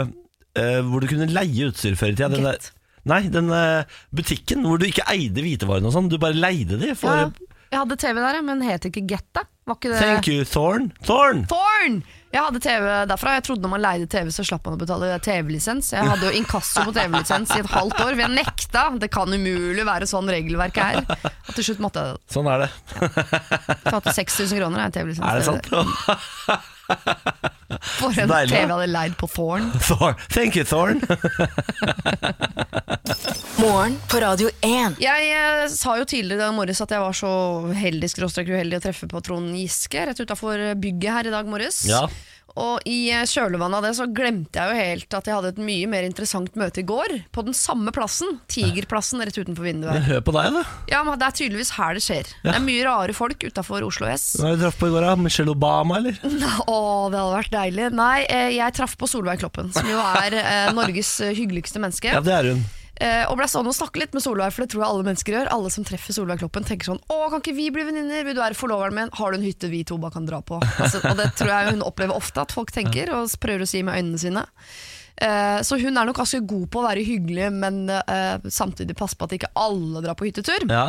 [SPEAKER 2] eh, Hvor du kunne leie utstyr før i tida? Den
[SPEAKER 1] Get.
[SPEAKER 2] der- Nei, den eh, butikken hvor du ikke eide hvitevarene og sånn. Du bare leide de for
[SPEAKER 1] Ja, Jeg hadde TV der, ja, men het ikke Getta. Var ikke det
[SPEAKER 2] Thank you, Thorn. Thorn!
[SPEAKER 1] Thorn! Jeg hadde TV derfra. Jeg trodde når man leide TV, så slapp man å betale TV-lisens. Jeg hadde jo inkasso på TV-lisens i et halvt år, for jeg nekta. Det kan umulig være sånn regelverket er. Og til slutt måtte jeg det.
[SPEAKER 2] Sånn er det.
[SPEAKER 1] Tatt 6000 kroner er en TV-lisens.
[SPEAKER 2] Er det sant?
[SPEAKER 1] For en
[SPEAKER 2] Deilig,
[SPEAKER 1] TV
[SPEAKER 2] da.
[SPEAKER 1] jeg hadde leid på Thorn.
[SPEAKER 2] Thorn. Thank you, Thorn.
[SPEAKER 3] Morgen på Radio 1.
[SPEAKER 1] Jeg eh, sa jo tidligere i morges at jeg var så heldig skråstrek uheldig å treffe på Trond Giske rett utafor bygget her i dag morges.
[SPEAKER 2] Ja.
[SPEAKER 1] Og i eh, kjølvannet av det så glemte jeg jo helt at jeg hadde et mye mer interessant møte i går. På den samme plassen. Tigerplassen rett utenfor vinduet.
[SPEAKER 2] Men hør på deg, da.
[SPEAKER 1] Ja, men Det er tydeligvis her det skjer. Det er mye rare folk utafor Oslo S.
[SPEAKER 2] Hva har du traff på i går, da? Michelle Obama, eller?
[SPEAKER 1] Å, det hadde vært deilig. Nei, eh, jeg traff på Solveig Kloppen, som jo er eh, Norges eh, hyggeligste menneske.
[SPEAKER 2] Ja, det er hun.
[SPEAKER 1] Eh, og ble stående og snakke litt med Solveig, for det tror jeg alle mennesker gjør. Alle som treffer Solveig Kloppen, tenker sånn Å, kan ikke vi bli venninner? Vil du være forloveren min? Har du en hytte vi to bare kan dra på? Altså, og det tror jeg hun opplever ofte at folk tenker, og prøver å si med øynene sine. Eh, så hun er nok ganske god på å være hyggelig, men eh, samtidig passe på at ikke alle drar på hyttetur.
[SPEAKER 2] Ja.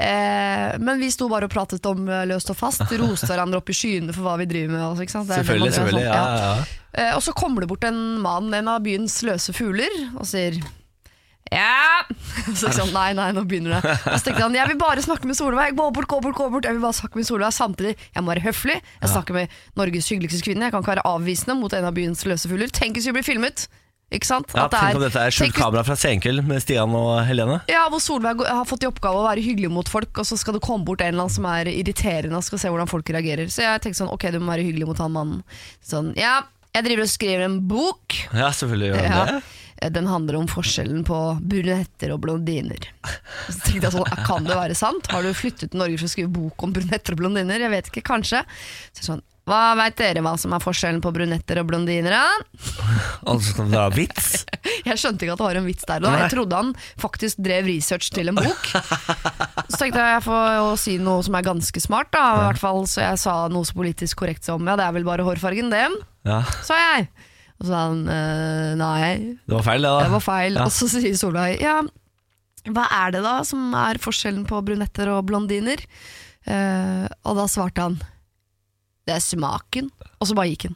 [SPEAKER 1] Eh, men vi sto bare og pratet om eh, løst og fast, roste hverandre opp i skyene for hva vi driver med. Altså, ikke sant? Det er det
[SPEAKER 2] Selvfølgelig,
[SPEAKER 1] man gjør,
[SPEAKER 2] selvfølgelig.
[SPEAKER 1] sånn,
[SPEAKER 2] Ja,
[SPEAKER 1] ja.
[SPEAKER 2] ja, ja.
[SPEAKER 1] Eh, Og så kommer det bort en mann, en av byens løse fugler, og sier ja! Så sånn, nei, nei, nå begynner det. Og så tenkte han, jeg vil bare snakke med Solveig. Gå bort, gå bort, gå bort. Jeg vil bare snakke med Solveig. Samtidig, jeg må være høflig. Jeg snakker med Norges hyggeligste kvinne. Jeg kan ikke være avvisende mot en av byens løse fugler. Tenk hvis vi blir filmet! Ikke sant?
[SPEAKER 2] ja
[SPEAKER 1] At det er-
[SPEAKER 2] Tenk om dette er skjult
[SPEAKER 1] tenk hvis-
[SPEAKER 2] kamera fra Senkveld med Stian og Helene.
[SPEAKER 1] ja, hvor Solveig har fått i oppgave å være hyggelig mot folk, og så skal det komme bort en eller annen som er irriterende og skal se hvordan folk reagerer. Så jeg tenkte sånn, ok, du må være hyggelig mot han mannen. Sånn, ja, jeg driver og skriver en bok.
[SPEAKER 2] Ja, selvfølgelig gjør hun
[SPEAKER 1] Ja,
[SPEAKER 2] det.
[SPEAKER 1] den handler om forskjellen på brunetter og blondiner. Så tenkte jeg sånn, Kan det være sant? Har du flyttet til Norge for å skrive bok om brunetter og blondiner? Jeg vet ikke, kanskje. Så sånn, Hva veit dere hva som er forskjellen på brunetter og blondiner? da?
[SPEAKER 2] Og så skal det være vits.
[SPEAKER 1] Jeg skjønte ikke at det var en vits der. Da. Jeg trodde han faktisk drev research til en bok. Så tenkte jeg jeg får jo si noe som er ganske smart, da. I hvert fall, så jeg sa noe så politisk korrekt som ja, det er vel bare hårfargen, det,
[SPEAKER 2] Ja,
[SPEAKER 1] sa jeg. Og så sa han «Eh, nei,
[SPEAKER 2] Det var feil, det, da.
[SPEAKER 1] det var feil. Og så sier Solveig ja, hva er det da som er forskjellen på brunetter og blondiner? Eh, og da svarte han det er smaken. Og så bare gikk han.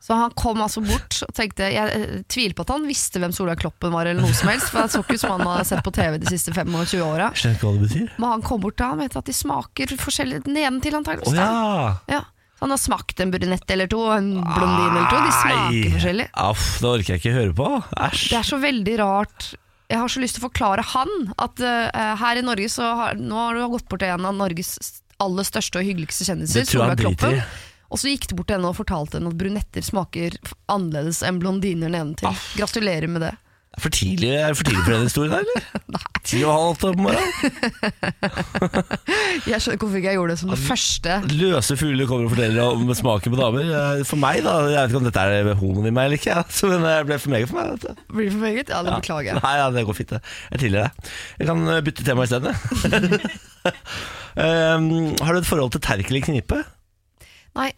[SPEAKER 1] Så han kom altså bort og tenkte Jeg eh, tviler på at han visste hvem Solveig Kloppen var, eller noe som helst, for det så ikke ut som han hadde sett på TV de siste 25 åra.
[SPEAKER 2] Skjønner ikke hva det betyr.
[SPEAKER 1] Men han kom bort da og mente at de smaker forskjellig den ene til, antakeligvis.
[SPEAKER 2] Å ja!
[SPEAKER 1] Ja. Så han har smakt en brunett eller to, og en blondin eller to. De
[SPEAKER 2] Nei.
[SPEAKER 1] smaker forskjellig.
[SPEAKER 2] Aff, det orker jeg ikke høre på. Æsj.
[SPEAKER 1] Det er så veldig rart. Jeg har så lyst til å forklare han at eh, her i Norge så har, nå har du gått bort til en av Norges aller største og hyggeligste kjendiser.
[SPEAKER 2] Det tror jeg han
[SPEAKER 1] Solveig
[SPEAKER 2] driter i.
[SPEAKER 1] Kloppen. Og så gikk du bort til henne og fortalte henne at brunetter smaker f- annerledes enn blondiner nedentil.
[SPEAKER 2] Ah.
[SPEAKER 1] Gratulerer med det.
[SPEAKER 2] Er For tidlig, er det for tidlig for den historien, der, eller? Nei. Ti og halv åtte om morgenen.
[SPEAKER 1] Jeg skjønner ikke hvorfor ikke jeg gjorde det som det første.
[SPEAKER 2] Løse fugler kommer og forteller om smaken på damer. Eh, For meg, da. Jeg vet ikke om dette er homoen i meg eller ikke, ja. så men det ble for meget for meg. Vet du.
[SPEAKER 1] Blir det for meget? Ja, det
[SPEAKER 2] Ja.
[SPEAKER 1] beklager jeg.
[SPEAKER 2] Nei, ja, det går fint, det. Jeg tilgir deg. Jeg kan eh, bytte tema isteden, jeg. um, har du et forhold til Terkel i Knipe?
[SPEAKER 1] Nei,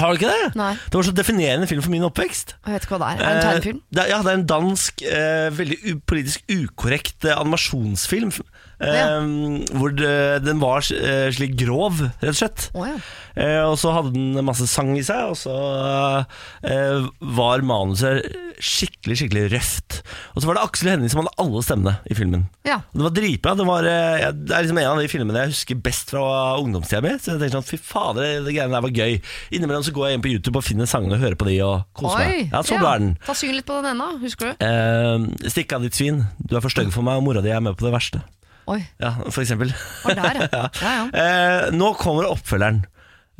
[SPEAKER 2] Har du ikke det?
[SPEAKER 1] nei,
[SPEAKER 2] Det var så definerende film for min oppvekst.
[SPEAKER 1] jeg vet ikke hva det er. Er det en tegnefilm?
[SPEAKER 2] Eh, det er- ja, det er en dansk, eh, veldig u politisk ukorrekt eh, animasjonsfilm. Eh,
[SPEAKER 1] Ja.
[SPEAKER 2] Hvor det, den var eh, slik grov, rett og slett.
[SPEAKER 1] Å ja.
[SPEAKER 2] Eh, og så hadde den masse sang i seg, og så eh, var manuset skikkelig, skikkelig røft. Og så var det Aksel Hennie som hadde alle stemmene i filmen.
[SPEAKER 1] ja.
[SPEAKER 2] Det var dritbra. Det, var, eh, ja, det er liksom en av de filmene jeg husker best fra ungdomstida mi. Så jeg tenkte sånn, fy fader, det, det greiene der var gøy. Innimellom så går jeg inn på YouTube og finner sangene og hører på de og koser meg. Ja, så bra er den.
[SPEAKER 1] Ta syng litt på den ennå, husker du?
[SPEAKER 2] Eh, stikk av ditt svin, du er for stygg for meg, og mora di er med på det verste.
[SPEAKER 1] Oi,
[SPEAKER 2] Ja, for eksempel.
[SPEAKER 1] var der, ja. ja, ja.
[SPEAKER 2] Eh, nå kommer oppfølgeren.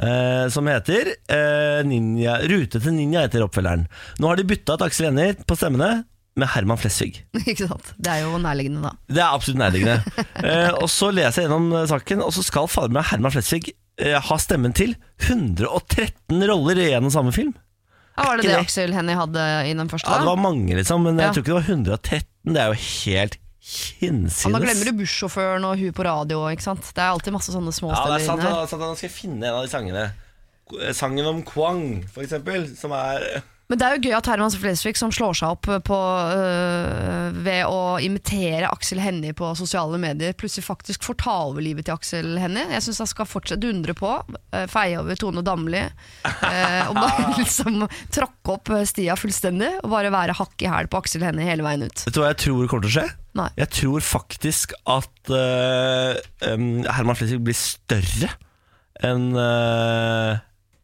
[SPEAKER 2] eh, som heter eh, Ninja, Rute til ninja heter oppfølgeren. Nå har de bytta ut Aksel Hennie på stemmene med Herman Flesvig.
[SPEAKER 1] Ikke sant? Det er jo nærliggende, da.
[SPEAKER 2] Det er absolutt nærliggende. eh, og så leser jeg gjennom eh, saken, og så skal fader meg Herman Flesvig eh, ha stemmen til 113 roller i en og samme film.
[SPEAKER 1] Ja, var det
[SPEAKER 2] Ikke
[SPEAKER 1] det
[SPEAKER 2] det.
[SPEAKER 1] Aksel Hennie hadde i den første?
[SPEAKER 2] Ja, det
[SPEAKER 1] da?
[SPEAKER 2] var mange, liksom, men jeg
[SPEAKER 1] Ja.
[SPEAKER 2] tror ikke det var 113. Det er jo helt hinsides.
[SPEAKER 1] Ja, da glemmer du bussjåføren og hun på radio. ikke sant? Det er alltid masse sånne små
[SPEAKER 2] Ja, det
[SPEAKER 1] stemmer
[SPEAKER 2] er
[SPEAKER 1] inn
[SPEAKER 2] sant.
[SPEAKER 1] her.
[SPEAKER 2] Eh, Da, sant da skal jeg finne en av de sangene. Sangen om Kwang, for eksempel, som er
[SPEAKER 1] Men det er jo gøy at Herman Flesvig, som slår seg opp på, øh, ved å imitere Aksel Hennie på sosiale medier, plutselig faktisk får ta over livet til Aksel Hennie. Jeg syns han skal fortsette dundre på, øh, feie over Tone Damli, øh, og bare liksom tråkke opp stia fullstendig, og bare være hakk i hæl på Aksel Hennie hele veien ut.
[SPEAKER 2] Vet du hva jeg tror kommer til å skje?
[SPEAKER 1] Nei.
[SPEAKER 2] Jeg tror faktisk at eh, em, Herman Flesvig blir større enn eh,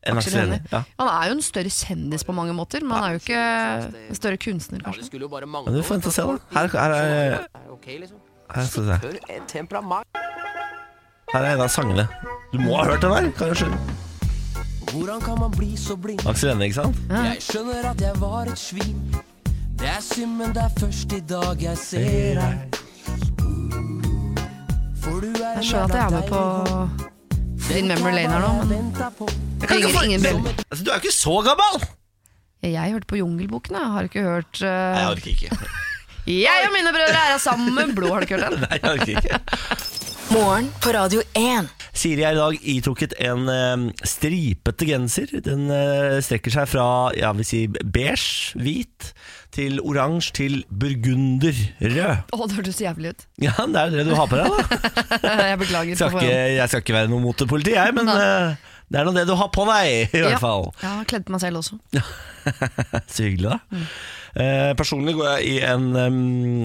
[SPEAKER 2] enn
[SPEAKER 1] Aksel
[SPEAKER 2] Aksel Hennie.
[SPEAKER 1] Hennie.
[SPEAKER 2] Ja.
[SPEAKER 1] Han er jo en større kjendis på mange måter, men han er jo ikke en større kunstner,
[SPEAKER 4] Ja, det
[SPEAKER 1] kanskje.
[SPEAKER 4] skulle jo bare mangle.
[SPEAKER 2] Men du får vente og se, da. Her, her, er,
[SPEAKER 4] Det er ok, liksom.
[SPEAKER 2] her, skal vi se.
[SPEAKER 4] Hør, eh, temperament.
[SPEAKER 2] her er en av sangene. Du må ha hørt den her. Kan du skjønne?
[SPEAKER 4] Hvordan kan man bli så blind?
[SPEAKER 2] Aksel Hennie, ikke sant?
[SPEAKER 4] Jeg skjønner at jeg var et svin. Det er synd, men det er først i dag jeg ser deg. For du er
[SPEAKER 1] Jeg skjønner at jeg er med på din memory lane her nå, men ringer ingen bjelle.
[SPEAKER 2] Altså, du er jo ikke så gammel!
[SPEAKER 1] Jeg hørte på Jungelboken, jeg har ikke hørt øh,
[SPEAKER 2] Nei, jeg orker ikke.
[SPEAKER 1] Jeg og mine brødre er her sammen med blod, har du ikke hørt den?
[SPEAKER 2] Nei, jeg orker ikke.
[SPEAKER 3] Morgen på Radio 1.
[SPEAKER 2] Siri er i dag itrukket en eh, stripete genser. Den eh, strekker seg fra ja, vi si beige, hvit, til oransje, til burgunderrød.
[SPEAKER 1] Å, det hørtes jævlig ut. Eh,
[SPEAKER 2] Ja, det er jo det du har på deg, da.
[SPEAKER 1] Jeg beklager.
[SPEAKER 2] Skal ikke,
[SPEAKER 1] på forhånd.
[SPEAKER 2] jeg skal ikke være noe mot politiet, jeg, men eh, det er nå det du har på deg, i hvert fall.
[SPEAKER 1] Ja, jeg har kledd på meg selv også.
[SPEAKER 2] Så hyggelig, da.
[SPEAKER 1] Mm.
[SPEAKER 2] Eh, personlig går jeg i en, em,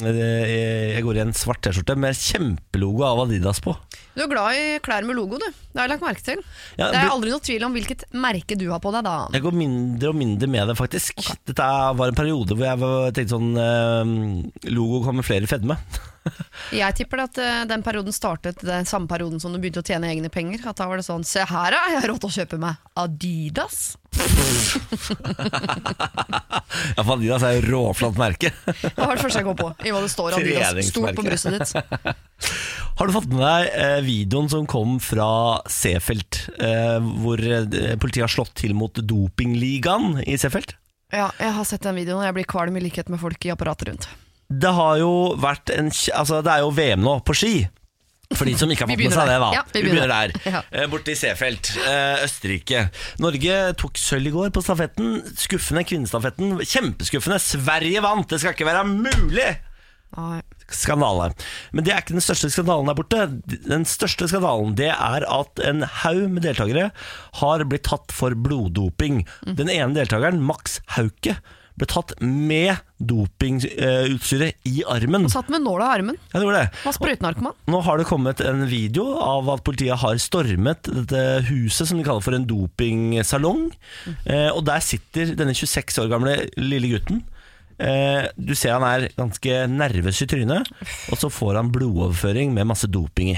[SPEAKER 2] eh, jeg går i en svart T-skjorte med kjempelogo av Adidas på.
[SPEAKER 1] Du er glad i klær med logo, du. Det har jeg lagt merke til.
[SPEAKER 2] Ja,
[SPEAKER 1] det er
[SPEAKER 2] br-
[SPEAKER 1] aldri noe tvil om hvilket merke du har på deg, da.
[SPEAKER 2] Jeg går mindre og mindre med det, faktisk. Dette er- var en periode hvor jeg var- tenkte sånn eh, Logo kamuflerer fedme.
[SPEAKER 1] Jeg tipper at eh, den perioden startet den samme perioden som du begynte å tjene egne penger. At da var det sånn Se her, da! Jeg har råd til å kjøpe meg Adidas.
[SPEAKER 2] Ja, for Adidas er jo råflatt merke.
[SPEAKER 1] Det var det første jeg kom på. I hva det står Adidas stort på
[SPEAKER 2] Treningsmerke.
[SPEAKER 1] brystet ditt.
[SPEAKER 2] Har du fått med deg eh, videoen som kom fra Seefeld, eh, hvor eh, politiet har slått til mot dopingligaen i Seefeld?
[SPEAKER 1] Ja, jeg har sett den videoen, og jeg blir kvalm i likhet med folk i apparatet rundt.
[SPEAKER 2] Det har jo vært en kj- Altså, det er jo VM nå, på ski. For de som ikke har
[SPEAKER 1] Vi
[SPEAKER 2] fått med
[SPEAKER 1] begynner
[SPEAKER 2] seg det,
[SPEAKER 1] der.
[SPEAKER 2] da.
[SPEAKER 1] Ja, vi
[SPEAKER 2] vi begynner
[SPEAKER 1] begynner.
[SPEAKER 2] der.
[SPEAKER 1] Ja.
[SPEAKER 2] Eh, Borte i Seefeld, eh, Østerrike. Norge tok sølv i går på stafetten. Skuffende kvinnestafetten. Kjempeskuffende. Sverige vant! Det skal ikke være mulig!
[SPEAKER 1] Nei.
[SPEAKER 2] Skandale. Men det er ikke den største skandalen der borte. Den største skandalen det er at en haug med deltakere har blitt tatt for bloddoping. Den ene deltakeren, Max Hauke, ble tatt med dopingutstyret i armen.
[SPEAKER 1] Satt med nåla i armen.
[SPEAKER 2] Ja, det var det.
[SPEAKER 1] Var sprøytenarkoman.
[SPEAKER 2] Nå har det kommet en video av at politiet har stormet dette huset som de kaller for en dopingsalong. Eh, og der sitter denne 26 år gamle lille gutten. Eh, du ser han er ganske nervøs i trynet, og så får han blodoverføring med masse doping i.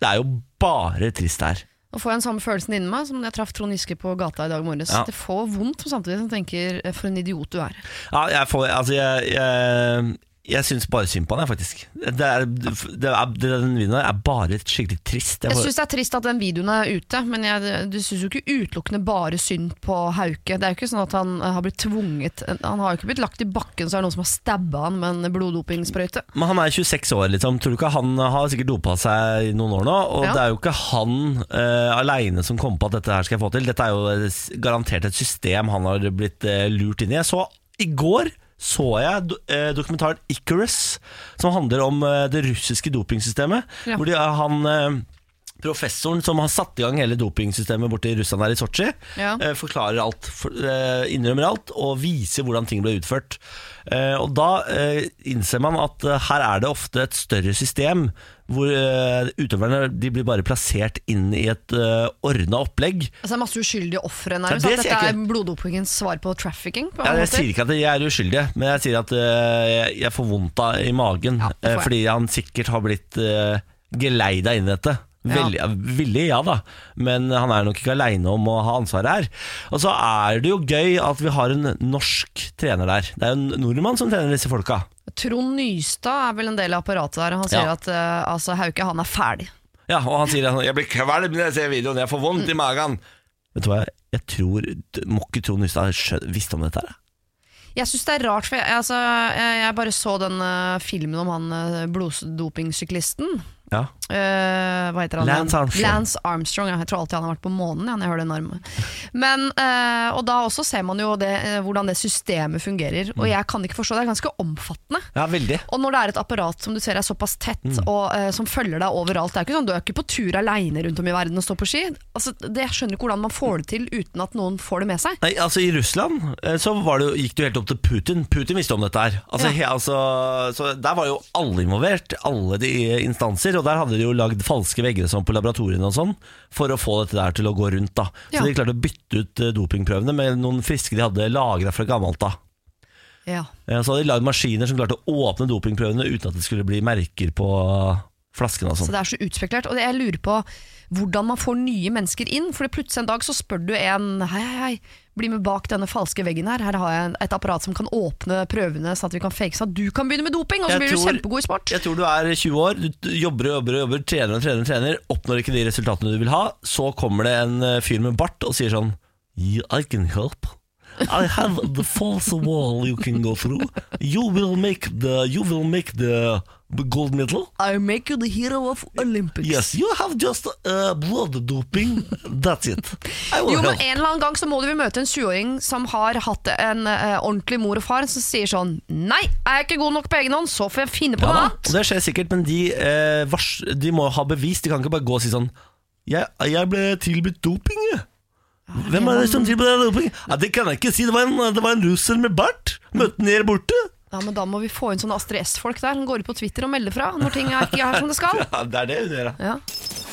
[SPEAKER 2] Det er jo bare trist her.
[SPEAKER 1] Nå får jeg den samme følelsen inni meg som da jeg traff Trond Giske på gata i dag morges.
[SPEAKER 2] Ja.
[SPEAKER 1] Det får vondt, men samtidig som jeg tenker eh, for en idiot du er.
[SPEAKER 2] Ja, jeg får Altså, jeg, jeg, jeg syns bare synd på han, jeg, faktisk. Det er, det er, den videoen her er bare skikkelig trist.
[SPEAKER 1] Jeg
[SPEAKER 2] får-
[SPEAKER 1] syns det er trist at den videoen er ute, men jeg, du syns jo ikke utelukkende bare synd på Hauke. Det er jo ikke sånn at han eh, har blitt tvunget Han har jo ikke blitt lagt i bakken så er det noen som har stabba han med en bloddopingsprøyte.
[SPEAKER 2] Men han er 26 år, liksom. Tror du ikke han har sikkert dopa seg i noen år nå? Og
[SPEAKER 1] Ja.
[SPEAKER 2] det er jo ikke han uh, aleine som kom på at dette her skal jeg få til. Dette er jo eh, s- garantert et system han har blitt eh, lurt inn i. Jeg så i går så jeg do- eh, dokumentaren Icarus, som handler om eh, det russiske dopingsystemet.
[SPEAKER 1] Ja.
[SPEAKER 2] Hvor de, han eh, professoren som har satt i gang hele dopingsystemet borte i Russland her i Sotsji,
[SPEAKER 1] Ja.
[SPEAKER 2] eh, forklarer alt, for, eh, innrømmer alt og viser hvordan ting ble utført. Eh, og da eh, innser man at eh, her er det ofte et større system hvor eh, utøverne de blir bare plassert inn i et eh, ordna opplegg.
[SPEAKER 1] Altså, det er masse uskyldige ofre
[SPEAKER 2] Ja,
[SPEAKER 1] nærmest.
[SPEAKER 2] det
[SPEAKER 1] at
[SPEAKER 2] sier
[SPEAKER 1] dette
[SPEAKER 2] jeg
[SPEAKER 1] er bloddopingens svar på trafficking. På
[SPEAKER 2] Ja,
[SPEAKER 1] en
[SPEAKER 2] jeg
[SPEAKER 1] måte.
[SPEAKER 2] sier ikke at jeg er uskyldig, men jeg sier at eh, jeg, jeg får vondt av, i magen
[SPEAKER 1] Ja, det får
[SPEAKER 2] eh,
[SPEAKER 1] jeg.
[SPEAKER 2] fordi han sikkert har blitt uh, geleida inn i dette.
[SPEAKER 1] Ja.
[SPEAKER 2] Veldig, villig, ja da, men han er nok ikke aleine om å ha ansvaret her. Og så er det jo gøy at vi har en norsk trener der. Det er jo en nordmann som trener disse folka.
[SPEAKER 1] Trond Nystad er vel en del av apparatet der, og han sier
[SPEAKER 2] Ja.
[SPEAKER 1] at eh, altså, Hauke han er ferdig.
[SPEAKER 2] Ja, og han sier sånn Jeg blir kvalm når jeg ser videoen, jeg får vondt i magen. Vet du hva, jeg tror Må ikke Trond Nystad skjø- visste om dette her.
[SPEAKER 1] Jeg syns det er rart, for jeg, altså, jeg, jeg bare så den eh, filmen om han eh, bloddopingssyklisten.
[SPEAKER 2] Ja.
[SPEAKER 1] Eh, hva heter han?
[SPEAKER 2] Lance Armstrong.
[SPEAKER 1] Lance Armstrong, ja. Jeg tror alltid han har vært på månen. Ja, når jeg hører den armen. Men, eh, og da også ser man jo det, eh, hvordan det systemet fungerer. Og
[SPEAKER 2] Mm.
[SPEAKER 1] jeg kan ikke forstå, det er ganske omfattende.
[SPEAKER 2] ja, veldig.
[SPEAKER 1] Og når det er et apparat som du ser er såpass tett
[SPEAKER 2] Mm.
[SPEAKER 1] og eh, som følger deg overalt Det er ikke sånn, Du er ikke på tur aleine rundt om i verden og står på ski. Altså, det, jeg skjønner ikke hvordan man får det til uten at noen får det med seg.
[SPEAKER 2] Nei, altså I Russland eh, så var det, jo- gikk det jo helt opp til Putin. Putin visste om dette her. Altså, he, altså, så Der var jo alle involvert, alle de instanser. Og der hadde de jo lagd falske vegger og sånn på laboratoriene og sånn for å få dette der til å gå rundt. da Så
[SPEAKER 1] Ja.
[SPEAKER 2] de klarte å bytte ut eh, dopingprøvene med noen friske de hadde lagra fra gammelt av.
[SPEAKER 1] Ja.
[SPEAKER 2] Eh, Så hadde de lagd maskiner som klarte å åpne dopingprøvene uten at det skulle bli merker på flaskene og
[SPEAKER 1] Så
[SPEAKER 2] sånn.
[SPEAKER 1] det er så utspekulert. Og det, jeg lurer på hvordan man får nye mennesker inn. For plutselig en dag så spør du en hei, hei, hei, bli med bak denne falske veggen her. Her har jeg en- et apparat som kan åpne prøvene, sånn at vi kan fake sånn at du kan begynne med doping, og
[SPEAKER 2] Jeg
[SPEAKER 1] så blir du
[SPEAKER 2] tror-
[SPEAKER 1] kjempegod i sport.
[SPEAKER 2] Jeg tror du er 20 år, du du jobber og jobber og jobber, trener og trener og trener, oppnår ikke de resultatene du vil ha, så kommer det en eh, fyr med bart og sier sånn yeah, I can help. I have the false wall you can go through. You will make the, you will make the gold medal.
[SPEAKER 1] I make you the hero of Olympics.
[SPEAKER 2] Yes, you have just uh, blood doping. That's it. I will
[SPEAKER 1] Jo, men
[SPEAKER 2] help.
[SPEAKER 1] En eller annen gang så må du vel møte en 20-åring som har hatt en eh, ordentlig mor og far, som sier sånn Nei, er jeg ikke god nok på egen hånd, så får jeg finne på
[SPEAKER 2] Ja
[SPEAKER 1] noe
[SPEAKER 2] da, og
[SPEAKER 1] annet.
[SPEAKER 2] det skjer sikkert, men de, eh, vars, de må ha bevis. De kan ikke bare gå og si sånn Jeg, jeg ble tilbudt doping, jeg.
[SPEAKER 1] Ah,
[SPEAKER 2] Hvem er det som tilbød deg doping? Ja, det kan jeg ikke si. Det var en, det var en russer med bart. Møtte den her borte.
[SPEAKER 1] Ja, men Da må vi få inn sånne Astrid S-folk der som går ut på Twitter og melder fra når ting er ikke er som det skal.
[SPEAKER 2] Ja, det er det hun gjør, ja.
[SPEAKER 1] Ja.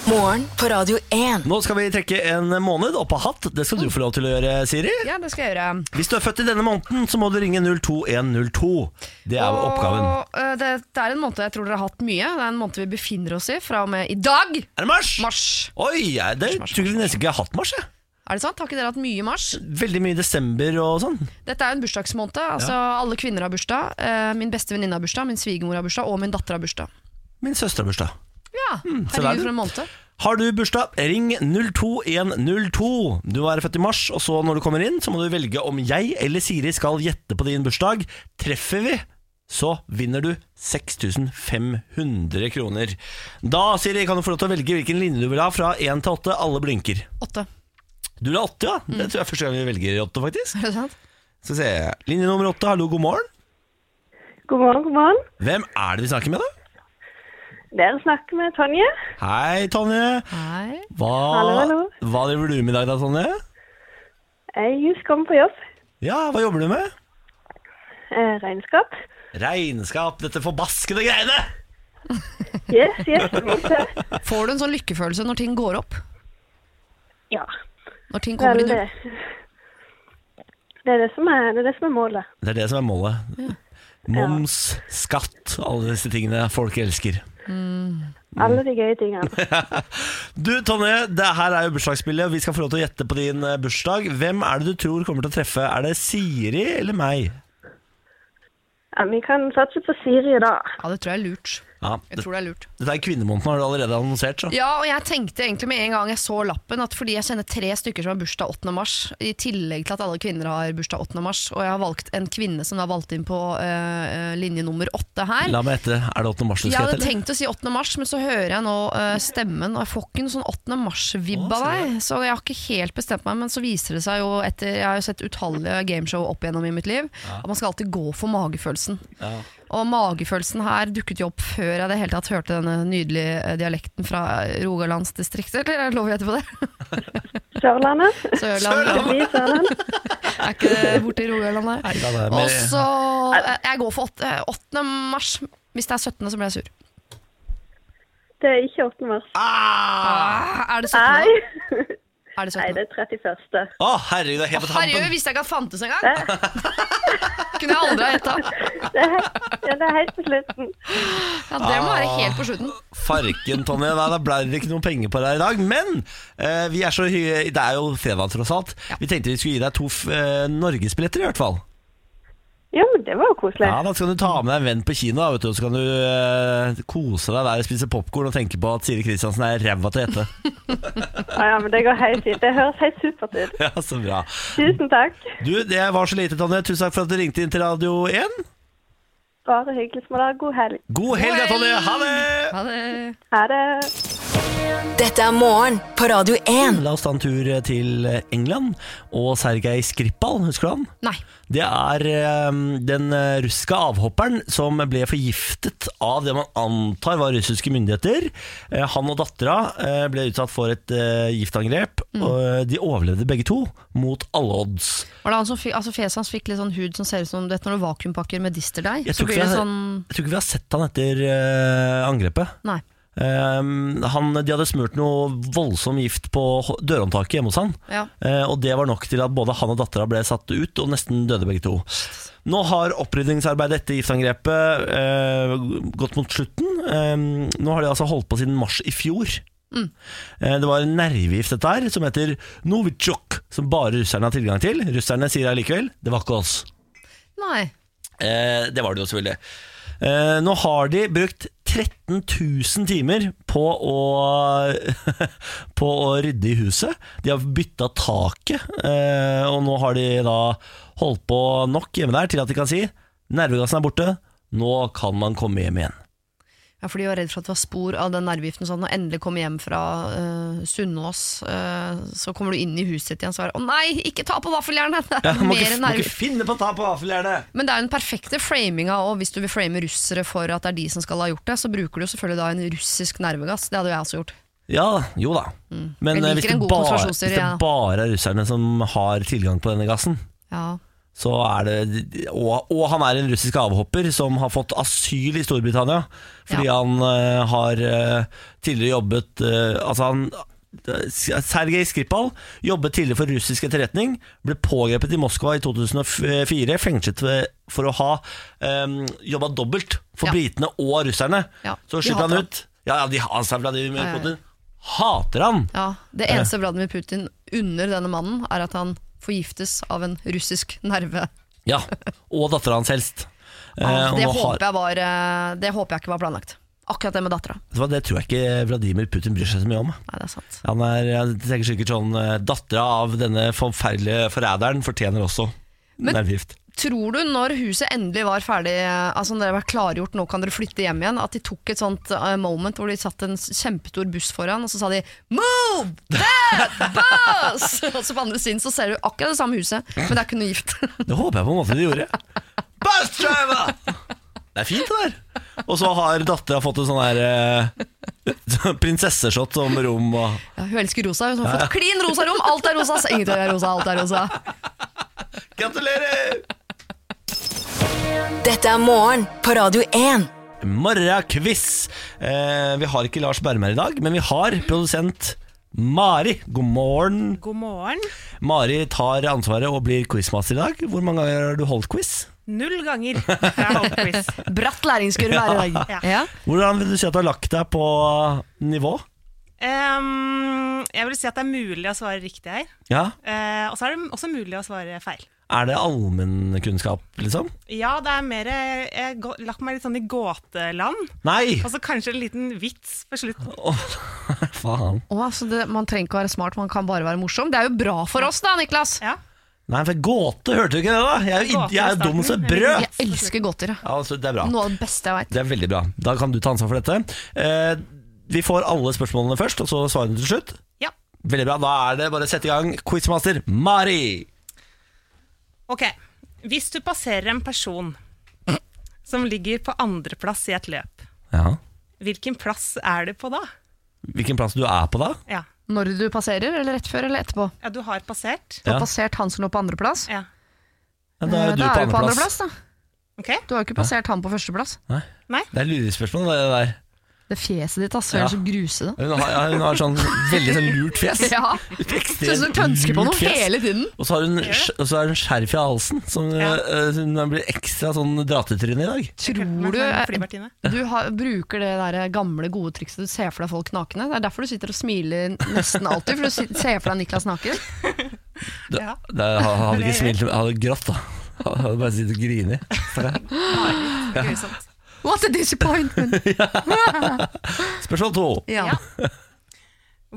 [SPEAKER 3] Morgen på Radio 1.
[SPEAKER 2] Nå skal vi trekke en måned opp av hatt. Det skal du få lov til å gjøre, Siri.
[SPEAKER 1] ja, det skal jeg gjøre.
[SPEAKER 2] Hvis du er født i denne måneden, så må du ringe 02102. Det er oppgaven.
[SPEAKER 1] Og, eh, det, det er en måned jeg tror dere har hatt mye. Det er en måned vi befinner oss i fra og med i dag.
[SPEAKER 2] Er det mars?
[SPEAKER 1] Mars.
[SPEAKER 2] Oi, jeg det,
[SPEAKER 1] mars,
[SPEAKER 2] tror jeg nesten ikke jeg har hatt mars. Jeg.
[SPEAKER 1] Er det sant? Har ikke dere hatt mye i mars?
[SPEAKER 2] Veldig mye i desember og sånn.
[SPEAKER 1] Dette er jo en bursdagsmåned. Altså, Alle kvinner har bursdag. eh, min beste venninne har bursdag, min svigermor har bursdag, og min datter har bursdag.
[SPEAKER 2] Min søster har bursdag.
[SPEAKER 1] Ja,
[SPEAKER 2] Hmm, så der er du.
[SPEAKER 1] herregud for en måned.
[SPEAKER 2] Har du bursdag, ring 02102. Du er født i mars, og så når du kommer inn, så må du velge om jeg eller Siri skal gjette på din bursdag. Treffer vi, så vinner du 6500 kroner. Da, Siri, kan du få lov til å velge hvilken linje du vil ha fra 1 til 8. Alle blinker.
[SPEAKER 1] Åtte.
[SPEAKER 2] Du vil ha 8, ja? Det tror jeg er første gang vi velger 8, faktisk.
[SPEAKER 1] Er det sant?
[SPEAKER 2] Så ser jeg. Linje nummer 8, hallo, god morgen.
[SPEAKER 5] God morgen, god morgen.
[SPEAKER 2] Hvem er det vi snakker med, da?
[SPEAKER 5] Dere snakker med Tonje.
[SPEAKER 2] Hei, Tonje.
[SPEAKER 1] Nei.
[SPEAKER 2] Hva,
[SPEAKER 5] Hallo, hallo.
[SPEAKER 2] hva driver du med i dag, da, Tonje?
[SPEAKER 5] Jeg just kom på jobb.
[SPEAKER 2] Ja, hva jobber du med?
[SPEAKER 5] Eh, regnskap.
[SPEAKER 2] Regnskap, dette forbaskede greiene!
[SPEAKER 5] Yes, yes. visst det.
[SPEAKER 1] Får du en sånn lykkefølelse når ting går opp?
[SPEAKER 5] Ja,
[SPEAKER 1] Når ting kommer
[SPEAKER 5] vel
[SPEAKER 1] i
[SPEAKER 5] det.
[SPEAKER 1] null?
[SPEAKER 5] Det er det som er, det er, det som er målet.
[SPEAKER 2] Det er det som er målet. Moms, skatt, alle disse tingene folk elsker.
[SPEAKER 5] Alle de gøye tingene.
[SPEAKER 2] Du Tonje, det her er jo bursdagsspillet, og vi skal få lov til å gjette på din eh, bursdag. Hvem er det du tror kommer til å treffe? Er det Siri eller meg?
[SPEAKER 5] Ja, vi kan satse på Siri i dag.
[SPEAKER 1] Ja, det tror jeg er lurt.
[SPEAKER 2] Ja,
[SPEAKER 1] Jeg
[SPEAKER 2] det,
[SPEAKER 1] tror det er lurt.
[SPEAKER 2] dette er kvinnemåneden, har du allerede annonsert, så.
[SPEAKER 1] Ja, og jeg tenkte egentlig med en gang jeg så lappen at fordi jeg kjenner tre stykker som har bursdag 8. mars, i tillegg til at alle kvinner har bursdag 8. mars, og jeg har valgt en kvinne som da valgte inn på eh, eh, linje nummer åtte her.
[SPEAKER 2] La meg gjette, er det 8. mars du
[SPEAKER 1] Jeg
[SPEAKER 2] skal gjette?
[SPEAKER 1] hadde
[SPEAKER 2] eller?
[SPEAKER 1] tenkt å si 8. mars, men så hører jeg nå eh, stemmen, og jeg får ikke en sånn 8. mars-vibb av
[SPEAKER 2] Å, ser
[SPEAKER 1] deg. Så jeg har ikke helt bestemt meg, men så viser det seg jo etter Jeg har jo sett utallige gameshow opp igjennom i mitt liv, at man skal alltid gå for magefølelsen. Og magefølelsen her dukket jo opp før jeg i det hele tatt hørte denne nydelige eh, dialekten fra eh, Rogalandsdistriktet, eller lover jeg etterpå det?
[SPEAKER 5] Sørlandet.
[SPEAKER 1] Sørlandet.
[SPEAKER 5] Vi i Sørland.
[SPEAKER 1] Er ikke det borte i Rogaland der?
[SPEAKER 2] Nei, da, det er
[SPEAKER 1] Og
[SPEAKER 2] med-
[SPEAKER 1] så eh, Jeg går for 8. mars. Hvis det er 17., så blir jeg sur.
[SPEAKER 5] Det er ikke 8. mars.
[SPEAKER 1] Ah, er det 17.?
[SPEAKER 5] Nei.
[SPEAKER 1] da? Er det 17.
[SPEAKER 5] Nei, det er 31.
[SPEAKER 2] Å, herregud, det er helt på
[SPEAKER 1] Herregud,
[SPEAKER 2] tampen.
[SPEAKER 1] visste jeg ikke at fantes engang! Kunne jeg aldri ha gjetta.
[SPEAKER 5] Det er, helt- ja, det er helt på slutten.
[SPEAKER 1] Ja, det må være helt på slutten.
[SPEAKER 2] Farken, Tonje. Nei, da ble det ikke noen penger på deg i dag. Men eh, vi er så hy det er jo fredag, tross alt. Vi tenkte vi skulle gi deg to f- eh, norgesbilletter, i hvert fall.
[SPEAKER 5] Jo, men det var jo koselig.
[SPEAKER 2] Ja, Da skal du ta med deg en venn på kino, da, vet du, og så kan du eh, kose deg der og spise popkorn og tenke på at Siri Kristiansen er ræva til å gjette.
[SPEAKER 5] Ja, ja, men det går helt fint. Det høres helt supert ut.
[SPEAKER 2] ja, så bra.
[SPEAKER 5] Tusen takk.
[SPEAKER 2] Du, det var så lite, Tonje. Tusen takk for at du ringte inn til Radio 1.
[SPEAKER 5] Bare hyggelig, småler. God helg.
[SPEAKER 2] God helg, da, Tonje! Ha det!
[SPEAKER 1] Ha det.
[SPEAKER 5] Ha det.
[SPEAKER 3] Dette er morgen på Radio 1.
[SPEAKER 2] La oss ta en tur eh, til England og Sergej Skripal, husker du han?
[SPEAKER 1] Nei.
[SPEAKER 2] Det er eh, den eh, russiske avhopperen som ble forgiftet av det man antar var russiske myndigheter. Eh, Han og dattera eh, ble utsatt for et eh, giftangrep, og eh, de overlevde begge to mot alle odds.
[SPEAKER 1] Var det han som fikk, altså Fjeset hans fikk litt sånn hud som ser ut som du vet, når du vakuumpakker med disterdeig.
[SPEAKER 2] Jeg
[SPEAKER 1] Så
[SPEAKER 2] tror,
[SPEAKER 1] blir
[SPEAKER 2] ikke
[SPEAKER 1] det
[SPEAKER 2] vi har,
[SPEAKER 1] sånn
[SPEAKER 2] jeg tror ikke vi har sett han etter eh, angrepet.
[SPEAKER 1] Nei.
[SPEAKER 2] Ehm, han, de hadde smurt noe voldsom gift på h- dørhåndtaket hjemme hos han.
[SPEAKER 1] Ja.
[SPEAKER 2] Eh, og det var nok til at både han og dattera ble satt ut, og nesten døde begge to. Nå har opprydningsarbeidet etter giftangrepet eh, gått mot slutten. Ehm, nå har de altså holdt på siden mars i fjor. Eh, Det var en nervegift dette her, som heter Novitsjok, som bare russerne har tilgang til. Russerne sier allikevel det var ikke oss.
[SPEAKER 1] Nei.
[SPEAKER 2] Eh, det var det jo selvfølgelig. Eh, nå har de brukt 13 000 timer på å, på å rydde i huset. De har bytta taket, eh, og nå har de da holdt på nok hjemme der til at de kan si nervegassen er borte, nå kan man komme hjem igjen.
[SPEAKER 1] Ja, for de var redd for at det var spor av den nervegiften. Sånn, når endelig kom hjem fra eh, Sunnaas, eh, så kommer du inn i huset ditt igjen og er det, Å nei, ikke ta på vaffeljernet! Det
[SPEAKER 2] Ja,
[SPEAKER 1] er
[SPEAKER 2] må,
[SPEAKER 1] mer
[SPEAKER 2] ikke, må
[SPEAKER 1] nerve-
[SPEAKER 2] ikke finne på å ta på vaffeljernet!
[SPEAKER 1] Men det er jo den perfekte framinga òg, hvis du vil frame russere for at det er de som skal ha gjort det. Så bruker du jo selvfølgelig da en russisk nervegass. Det hadde jo jeg også gjort.
[SPEAKER 2] Ja, jo da. Men
[SPEAKER 1] Mm. Jeg
[SPEAKER 2] eh,
[SPEAKER 1] liker
[SPEAKER 2] hvis
[SPEAKER 1] en
[SPEAKER 2] det,
[SPEAKER 1] god
[SPEAKER 2] bare, hvis
[SPEAKER 1] konspirasjonsteori,
[SPEAKER 2] det
[SPEAKER 1] ja.
[SPEAKER 2] bare er russerne som har tilgang på denne gassen,
[SPEAKER 1] Ja.
[SPEAKER 2] så er det og, og han er en russisk avhopper som har fått asyl i Storbritannia fordi
[SPEAKER 1] Ja.
[SPEAKER 2] han eh, har eh, tidligere jobbet eh, Altså, han Sergej Skripal jobbet tidligere for russisk etterretning, ble pågrepet i Moskva i 2004, fengslet ved- for å ha um, jobba dobbelt for
[SPEAKER 1] Ja.
[SPEAKER 2] britene og russerne.
[SPEAKER 1] Ja,
[SPEAKER 2] Så
[SPEAKER 1] de
[SPEAKER 2] slipper
[SPEAKER 1] hater
[SPEAKER 2] han
[SPEAKER 1] han.
[SPEAKER 2] ut. Ja, ja, de hater Vladimir
[SPEAKER 1] ja, ja.
[SPEAKER 2] Putin. Hater han!
[SPEAKER 1] ja. Det eneste Vladimir Putin unner denne mannen, er at han forgiftes av en russisk nerve.
[SPEAKER 2] Ja, Og dattera hans helst. Eh,
[SPEAKER 1] Ja,
[SPEAKER 2] og
[SPEAKER 1] det,
[SPEAKER 2] nå har-
[SPEAKER 1] håper jeg var, eh, det håper jeg ikke var planlagt. Akkurat det med dattera.
[SPEAKER 2] Vet du hva, det tror jeg ikke Vladimir Putin bryr seg så mye om.
[SPEAKER 1] Nei, det er sant.
[SPEAKER 2] Han er, jeg tenker sikkert sånn Dattera av denne forferdelige forræderen fortjener også
[SPEAKER 1] Men-
[SPEAKER 2] nervegift.
[SPEAKER 1] Tror du når huset endelig var ferdig, altså når det var klargjort, nå kan dere flytte hjem igjen, at de tok et sånt eh, moment hvor de satt en s- kjempestor buss foran, og så sa de 'move that bus'! og så på andre siden så ser du akkurat det samme huset, men det er ikke noe gift.
[SPEAKER 2] Det håper jeg på en måte de gjorde. Bus driver! Det er fint, det der. Og så har dattera fått en sånn her eh, prinsesseshot om rom og
[SPEAKER 1] ja, hun elsker rosa, hun har fått klin rosa rom, alt er rosa, så ingenting er rosa, alt er rosa.
[SPEAKER 2] Gratulerer!
[SPEAKER 3] Dette er morgen på Radio 1.
[SPEAKER 2] Morgenquiz. Eh, vi har ikke Lars Bermer i dag, men vi har produsent Mari. God morgen.
[SPEAKER 6] God morgen.
[SPEAKER 2] Mari tar ansvaret og blir quizmaster i dag. Hvor mange ganger har du holdt quiz?
[SPEAKER 6] Null ganger. Jeg holdt quiz.
[SPEAKER 1] Bratt læringskurve her i dag. Ja.
[SPEAKER 2] Hvordan vil du si at du har lagt deg på uh, nivå?
[SPEAKER 6] Ehm, jeg vil si at det er mulig å svare riktig her.
[SPEAKER 2] Ja,
[SPEAKER 6] Eh, og så er det også mulig å svare feil.
[SPEAKER 2] Er det allmennkunnskap, liksom?
[SPEAKER 6] Ja, det er mer eh, Jeg har gå- lagt meg litt sånn i gåteland.
[SPEAKER 2] Nei!
[SPEAKER 6] Og så kanskje en liten vits på slutten.
[SPEAKER 2] Faen.
[SPEAKER 1] Å, altså det, man trenger ikke å være smart, man kan bare være morsom. Det er jo bra for oss da, Niklas.
[SPEAKER 6] Ja.
[SPEAKER 2] Nei, for gåte, hørte du ikke det, da? Jeg er jo,
[SPEAKER 6] Gåte i
[SPEAKER 2] jeg er jo dum
[SPEAKER 6] starten,
[SPEAKER 2] som et
[SPEAKER 6] eller
[SPEAKER 2] brød!
[SPEAKER 6] noe.
[SPEAKER 1] Jeg elsker godter. jeg.
[SPEAKER 2] Ja, altså, det er bra.
[SPEAKER 1] Noe av det beste jeg veit.
[SPEAKER 2] Det er veldig bra. Da kan du ta ansvar for dette. Eh, vi får alle spørsmålene først, og så svarene til slutt.
[SPEAKER 6] ja.
[SPEAKER 2] Veldig bra. Da er det bare å sette i gang. Quizmaster Mari!
[SPEAKER 6] Ok. Hvis du passerer en person som ligger på andreplass i et løp,
[SPEAKER 2] Ja.
[SPEAKER 6] hvilken plass er du på da?
[SPEAKER 2] Hvilken plass du er på da?
[SPEAKER 6] Ja,
[SPEAKER 1] Når du passerer, eller rett før eller etterpå?
[SPEAKER 6] ja du har passert.
[SPEAKER 1] Du har
[SPEAKER 2] Ja.
[SPEAKER 1] passert han som lå på andreplass.
[SPEAKER 6] Ja.
[SPEAKER 2] Ja, da er
[SPEAKER 1] Eh,
[SPEAKER 2] du på
[SPEAKER 1] du på
[SPEAKER 2] andreplass.
[SPEAKER 1] andreplass, da.
[SPEAKER 6] Ok.
[SPEAKER 1] Du har jo ikke passert han på førsteplass.
[SPEAKER 2] Det er lurespørsmål, det der.
[SPEAKER 1] Det er fjeset ditt, ass. Du er
[SPEAKER 2] Ja.
[SPEAKER 1] så grusete.
[SPEAKER 2] Hun har, ja, hun har sånn veldig sånn lurt fjes.
[SPEAKER 1] Ja. Ser ut som du pønsker på
[SPEAKER 2] lurt
[SPEAKER 1] noe
[SPEAKER 2] fjes.
[SPEAKER 1] hele tiden.
[SPEAKER 2] Og så har hun, og så har hun skjerf i halsen, som
[SPEAKER 6] Ja.
[SPEAKER 2] eh, som hun blir ekstra sånn dratetryne i dag.
[SPEAKER 1] Tror du eh,
[SPEAKER 6] Flyvertinne.
[SPEAKER 1] du har, bruker det der gamle, gode trikset du ser for deg folk nakne? Det er derfor du sitter og smiler nesten alltid, for du sit- ser for deg Niklas naken.
[SPEAKER 2] Det,
[SPEAKER 6] Ja.
[SPEAKER 2] det, han hadde
[SPEAKER 6] Det
[SPEAKER 2] ikke
[SPEAKER 6] er
[SPEAKER 2] smilt, han hadde grått da. Han hadde bare sittet og grinet.
[SPEAKER 6] Grusomt.
[SPEAKER 1] What a disappointment!
[SPEAKER 2] Spørsmål to.
[SPEAKER 1] Ja.
[SPEAKER 6] Ja.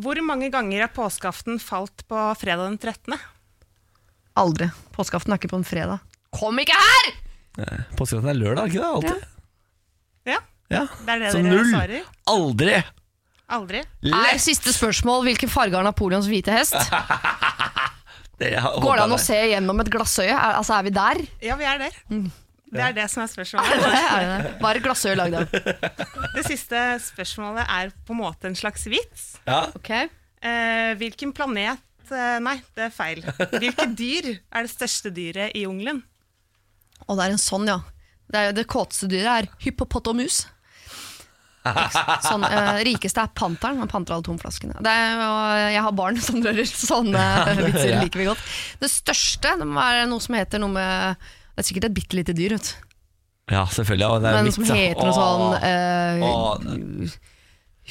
[SPEAKER 6] Hvor mange ganger har påskeaften falt på fredag den 13.?
[SPEAKER 1] Aldri. Påskeaften er ikke på en fredag. Kom ikke her!
[SPEAKER 2] Påskeaften er lørdag, ikke det? Alltid.
[SPEAKER 6] Ja,
[SPEAKER 2] Ja.
[SPEAKER 6] det er det
[SPEAKER 2] Så
[SPEAKER 6] dere
[SPEAKER 2] null.
[SPEAKER 6] svarer.
[SPEAKER 2] Aldri!
[SPEAKER 6] Aldri.
[SPEAKER 1] Er
[SPEAKER 2] Lett!
[SPEAKER 1] Eh, siste spørsmål hvilken farge har Napoleons hvite hest?
[SPEAKER 2] Det har-
[SPEAKER 1] Går det an
[SPEAKER 2] håper
[SPEAKER 1] å se gjennom et glassøye? Er, altså, er vi der?
[SPEAKER 6] Ja, vi er der.
[SPEAKER 1] Mm.
[SPEAKER 6] Det er det som er
[SPEAKER 1] Er
[SPEAKER 6] spørsmålet.
[SPEAKER 1] det det? Er det det? Hva er et glassøye lagd av?
[SPEAKER 6] Det siste spørsmålet er på en måte en slags vits.
[SPEAKER 2] jeg. Ja.
[SPEAKER 1] Ok.
[SPEAKER 6] Eh, hvilken planet eh, Nei, det er feil. Hvilket dyr er det største dyret i jungelen?
[SPEAKER 1] Og det er en sånn, ja. Det, er, jo- det kåteste dyret er hypopotamus. Sånn, eh, rikeste er panteren, men panter alle tomflaskene. Det er, og jeg har barn som rører sånne vitser,
[SPEAKER 2] ja.
[SPEAKER 1] liker vi godt. Det største det må være noe som heter noe med Det er sikkert et bitte lite dyr, vet du.
[SPEAKER 2] ja, selvfølgelig. ja, Det er
[SPEAKER 1] Men
[SPEAKER 2] vits,
[SPEAKER 1] som
[SPEAKER 2] ja.
[SPEAKER 1] heter noe
[SPEAKER 2] Åh.
[SPEAKER 1] sånn eh,
[SPEAKER 2] Åh.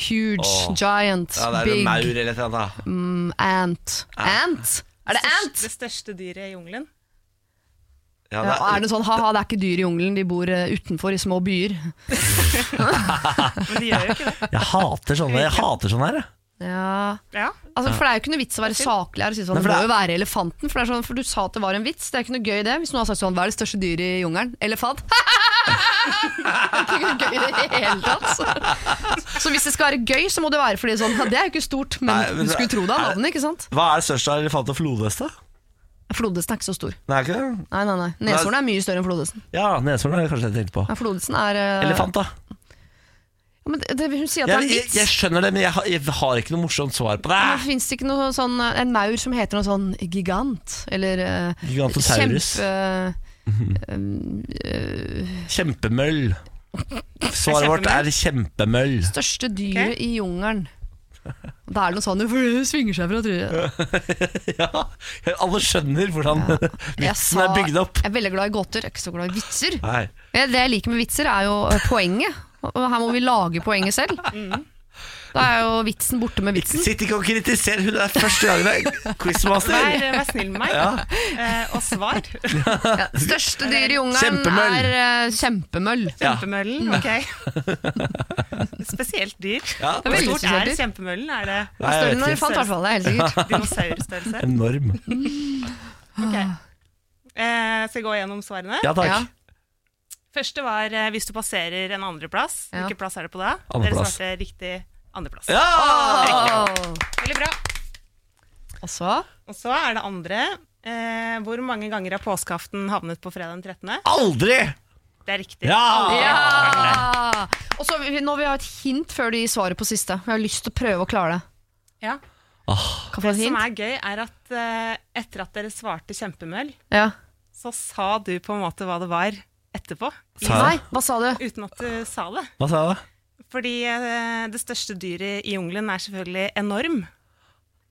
[SPEAKER 1] Huge,
[SPEAKER 2] Åh.
[SPEAKER 1] giant,
[SPEAKER 2] Ja, det er en
[SPEAKER 1] big,
[SPEAKER 2] maur eller et eller annet. da.
[SPEAKER 1] mm, ant. Ant? Er det
[SPEAKER 6] Størst-
[SPEAKER 1] ant?
[SPEAKER 6] Det største dyret i jungelen?
[SPEAKER 2] Ja,
[SPEAKER 1] Ja, og er det sånn ha-ha, det er ikke dyr i jungelen, de bor eh, utenfor i små byer.
[SPEAKER 6] Men de gjør jo ikke det.
[SPEAKER 2] Jeg hater sånne Jeg hater sånne her. jeg.
[SPEAKER 1] Ja
[SPEAKER 6] Ja.
[SPEAKER 1] Altså, for Det er jo ikke noe vits å være saklig her og si sånn,
[SPEAKER 2] Nei, for
[SPEAKER 1] det må
[SPEAKER 2] det er-
[SPEAKER 1] jo være elefanten. For, det er sånn, for du sa at det var en vits. Det er ikke noe gøy det. Hvis noen har sagt sånn, hva er det største dyret i jungelen? Elefant. det er ikke noe gøy i det hele tatt. Så. så hvis det skal være gøy, så må det være fordi sånn, ja, det er jo ikke stort, men,
[SPEAKER 2] Nei, men
[SPEAKER 1] du
[SPEAKER 2] det-
[SPEAKER 1] skulle tro det av
[SPEAKER 2] er det-
[SPEAKER 1] navnet, ikke sant?
[SPEAKER 2] Hva er det største av elefant og flodhest, da?
[SPEAKER 1] Flodhesten er ikke så stor.
[SPEAKER 2] Nei, er det ikke det?
[SPEAKER 1] Nei, nei, nei. Neshorn er mye større enn flodhesten.
[SPEAKER 2] Ja, neshorn er det kanskje jeg tenkte på.
[SPEAKER 1] Ja, flodhesten er eh,
[SPEAKER 2] Elefant, da.
[SPEAKER 1] Ja, men det, det, hun sier at det er
[SPEAKER 2] Jeg,
[SPEAKER 1] en
[SPEAKER 2] jeg,
[SPEAKER 1] vits.
[SPEAKER 2] jeg skjønner det, men jeg har, jeg har ikke noe morsomt svar på det.
[SPEAKER 1] Fins det ikke noe sånn, en maur som heter noe sånn gigant? Eller eh,
[SPEAKER 2] Gigantosaurus.
[SPEAKER 1] kjempe...
[SPEAKER 2] Kjempemøll. Svaret vårt er kjempemøll.
[SPEAKER 1] største dyret i jungelen. Og Da er det noe sånn for det svinger seg fra trynet.
[SPEAKER 2] Ja, alle skjønner hvordan
[SPEAKER 1] Jeg
[SPEAKER 2] vitsen er
[SPEAKER 1] sa-
[SPEAKER 2] bygd opp.
[SPEAKER 1] Jeg er veldig glad i gåter, jeg er ikke så glad i vitser.
[SPEAKER 2] Nei.
[SPEAKER 1] Men Det jeg liker med vitser, er jo eh, poenget. Og her må vi lage poenget selv. Da er jo vitsen borte med vitsen.
[SPEAKER 2] Sitt ikke og kritiser, hun er første gangen det er
[SPEAKER 6] Vær,
[SPEAKER 2] quizmaster.
[SPEAKER 6] vær snill med meg. Eh, og svar.
[SPEAKER 1] Ja. Største dyr i jungelen
[SPEAKER 2] Kjempemøll.
[SPEAKER 1] er eh, kjempemøll.
[SPEAKER 2] Ja.
[SPEAKER 1] Mm.
[SPEAKER 6] Kjempemøllen, ok. Spesielt dyr.
[SPEAKER 2] Ja,
[SPEAKER 6] Hvor
[SPEAKER 1] veldig
[SPEAKER 6] stort
[SPEAKER 1] spesielt
[SPEAKER 6] er
[SPEAKER 1] dyr.
[SPEAKER 6] kjempemøllen? Er det
[SPEAKER 2] Nei,
[SPEAKER 1] Større
[SPEAKER 2] jeg
[SPEAKER 1] enn en
[SPEAKER 2] vet ikke.
[SPEAKER 1] elefant, i hvert fall. Det er helt sikkert.
[SPEAKER 6] dinosaurstørrelse?
[SPEAKER 2] Enorm.
[SPEAKER 6] Ok. Eh, skal jeg gå gjennom svarene?
[SPEAKER 2] Ja
[SPEAKER 1] Ah. Ja.
[SPEAKER 2] takk.
[SPEAKER 6] Første var eh, hvis du passerer en andreplass.
[SPEAKER 1] Ja.
[SPEAKER 6] Hvilken plass er det på da?
[SPEAKER 2] Andreplass.
[SPEAKER 6] Dere svarte riktig andreplass.
[SPEAKER 2] Ja!
[SPEAKER 1] Åh.
[SPEAKER 6] Veldig bra.
[SPEAKER 1] Og så
[SPEAKER 6] Og så er det andre. Eh, hvor mange ganger har påskeaften havnet på fredag den 13.?
[SPEAKER 2] Aldri!
[SPEAKER 6] Det er riktig.
[SPEAKER 2] Ja!
[SPEAKER 1] Ja! Og så vi- Nå vil jeg ha et hint før de svarer på siste. Jeg har lyst til å prøve å klare det.
[SPEAKER 6] Ja.
[SPEAKER 1] Kan jeg få
[SPEAKER 6] Det
[SPEAKER 1] et
[SPEAKER 6] som
[SPEAKER 1] hint?
[SPEAKER 6] er gøy, er at eh, etter at dere svarte kjempemøll,
[SPEAKER 1] Ja.
[SPEAKER 6] så sa du på en måte hva det var etterpå.
[SPEAKER 2] Sa jeg
[SPEAKER 1] Nei, hva sa du?
[SPEAKER 6] Uten at du sa det.
[SPEAKER 2] Hva sa jeg da?
[SPEAKER 6] Fordi eh, det største dyret i jungelen er selvfølgelig enorm.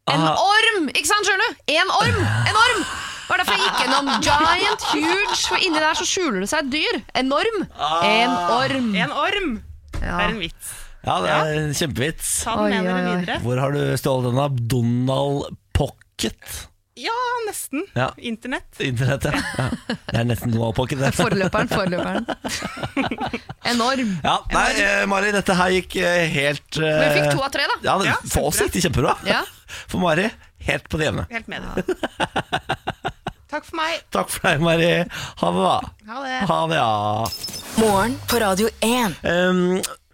[SPEAKER 1] En
[SPEAKER 2] Ah.
[SPEAKER 1] orm! Ikke sant, skjønner du? En orm! En orm! Det var derfor jeg gikk gjennom giant, huge, for inni der så skjuler det seg et dyr. Enorm. En
[SPEAKER 2] Ah.
[SPEAKER 1] orm.
[SPEAKER 6] En orm! Det
[SPEAKER 1] Ja.
[SPEAKER 6] er en vits.
[SPEAKER 2] Ja, det er en kjempevits.
[SPEAKER 6] Ta
[SPEAKER 1] Oi,
[SPEAKER 6] den med
[SPEAKER 1] oi,
[SPEAKER 6] dere
[SPEAKER 1] oi.
[SPEAKER 6] videre.
[SPEAKER 2] Hvor har du stjålet den av? Donald Pocket?
[SPEAKER 6] Ja, nesten.
[SPEAKER 2] Ja.
[SPEAKER 6] Internett.
[SPEAKER 2] Internett, ja. ja. Det er nesten Donald Pocket. det.
[SPEAKER 1] Forløperen, forløperen. Enorm.
[SPEAKER 2] Ja, nei, eh, Mari, dette her gikk eh, helt eh,
[SPEAKER 1] Men vi fikk to av tre, da.
[SPEAKER 2] Ja, det,
[SPEAKER 6] Ja,
[SPEAKER 2] for oss gikk det kjempebra.
[SPEAKER 1] Ja.
[SPEAKER 2] For Mari, helt på det jevne.
[SPEAKER 6] Helt med dere. Takk for meg.
[SPEAKER 2] Takk for deg, Mari. Ha det, da.
[SPEAKER 6] Ha det.
[SPEAKER 2] Ha det, ja.
[SPEAKER 3] Morgen på Radio 1.
[SPEAKER 2] Ehm,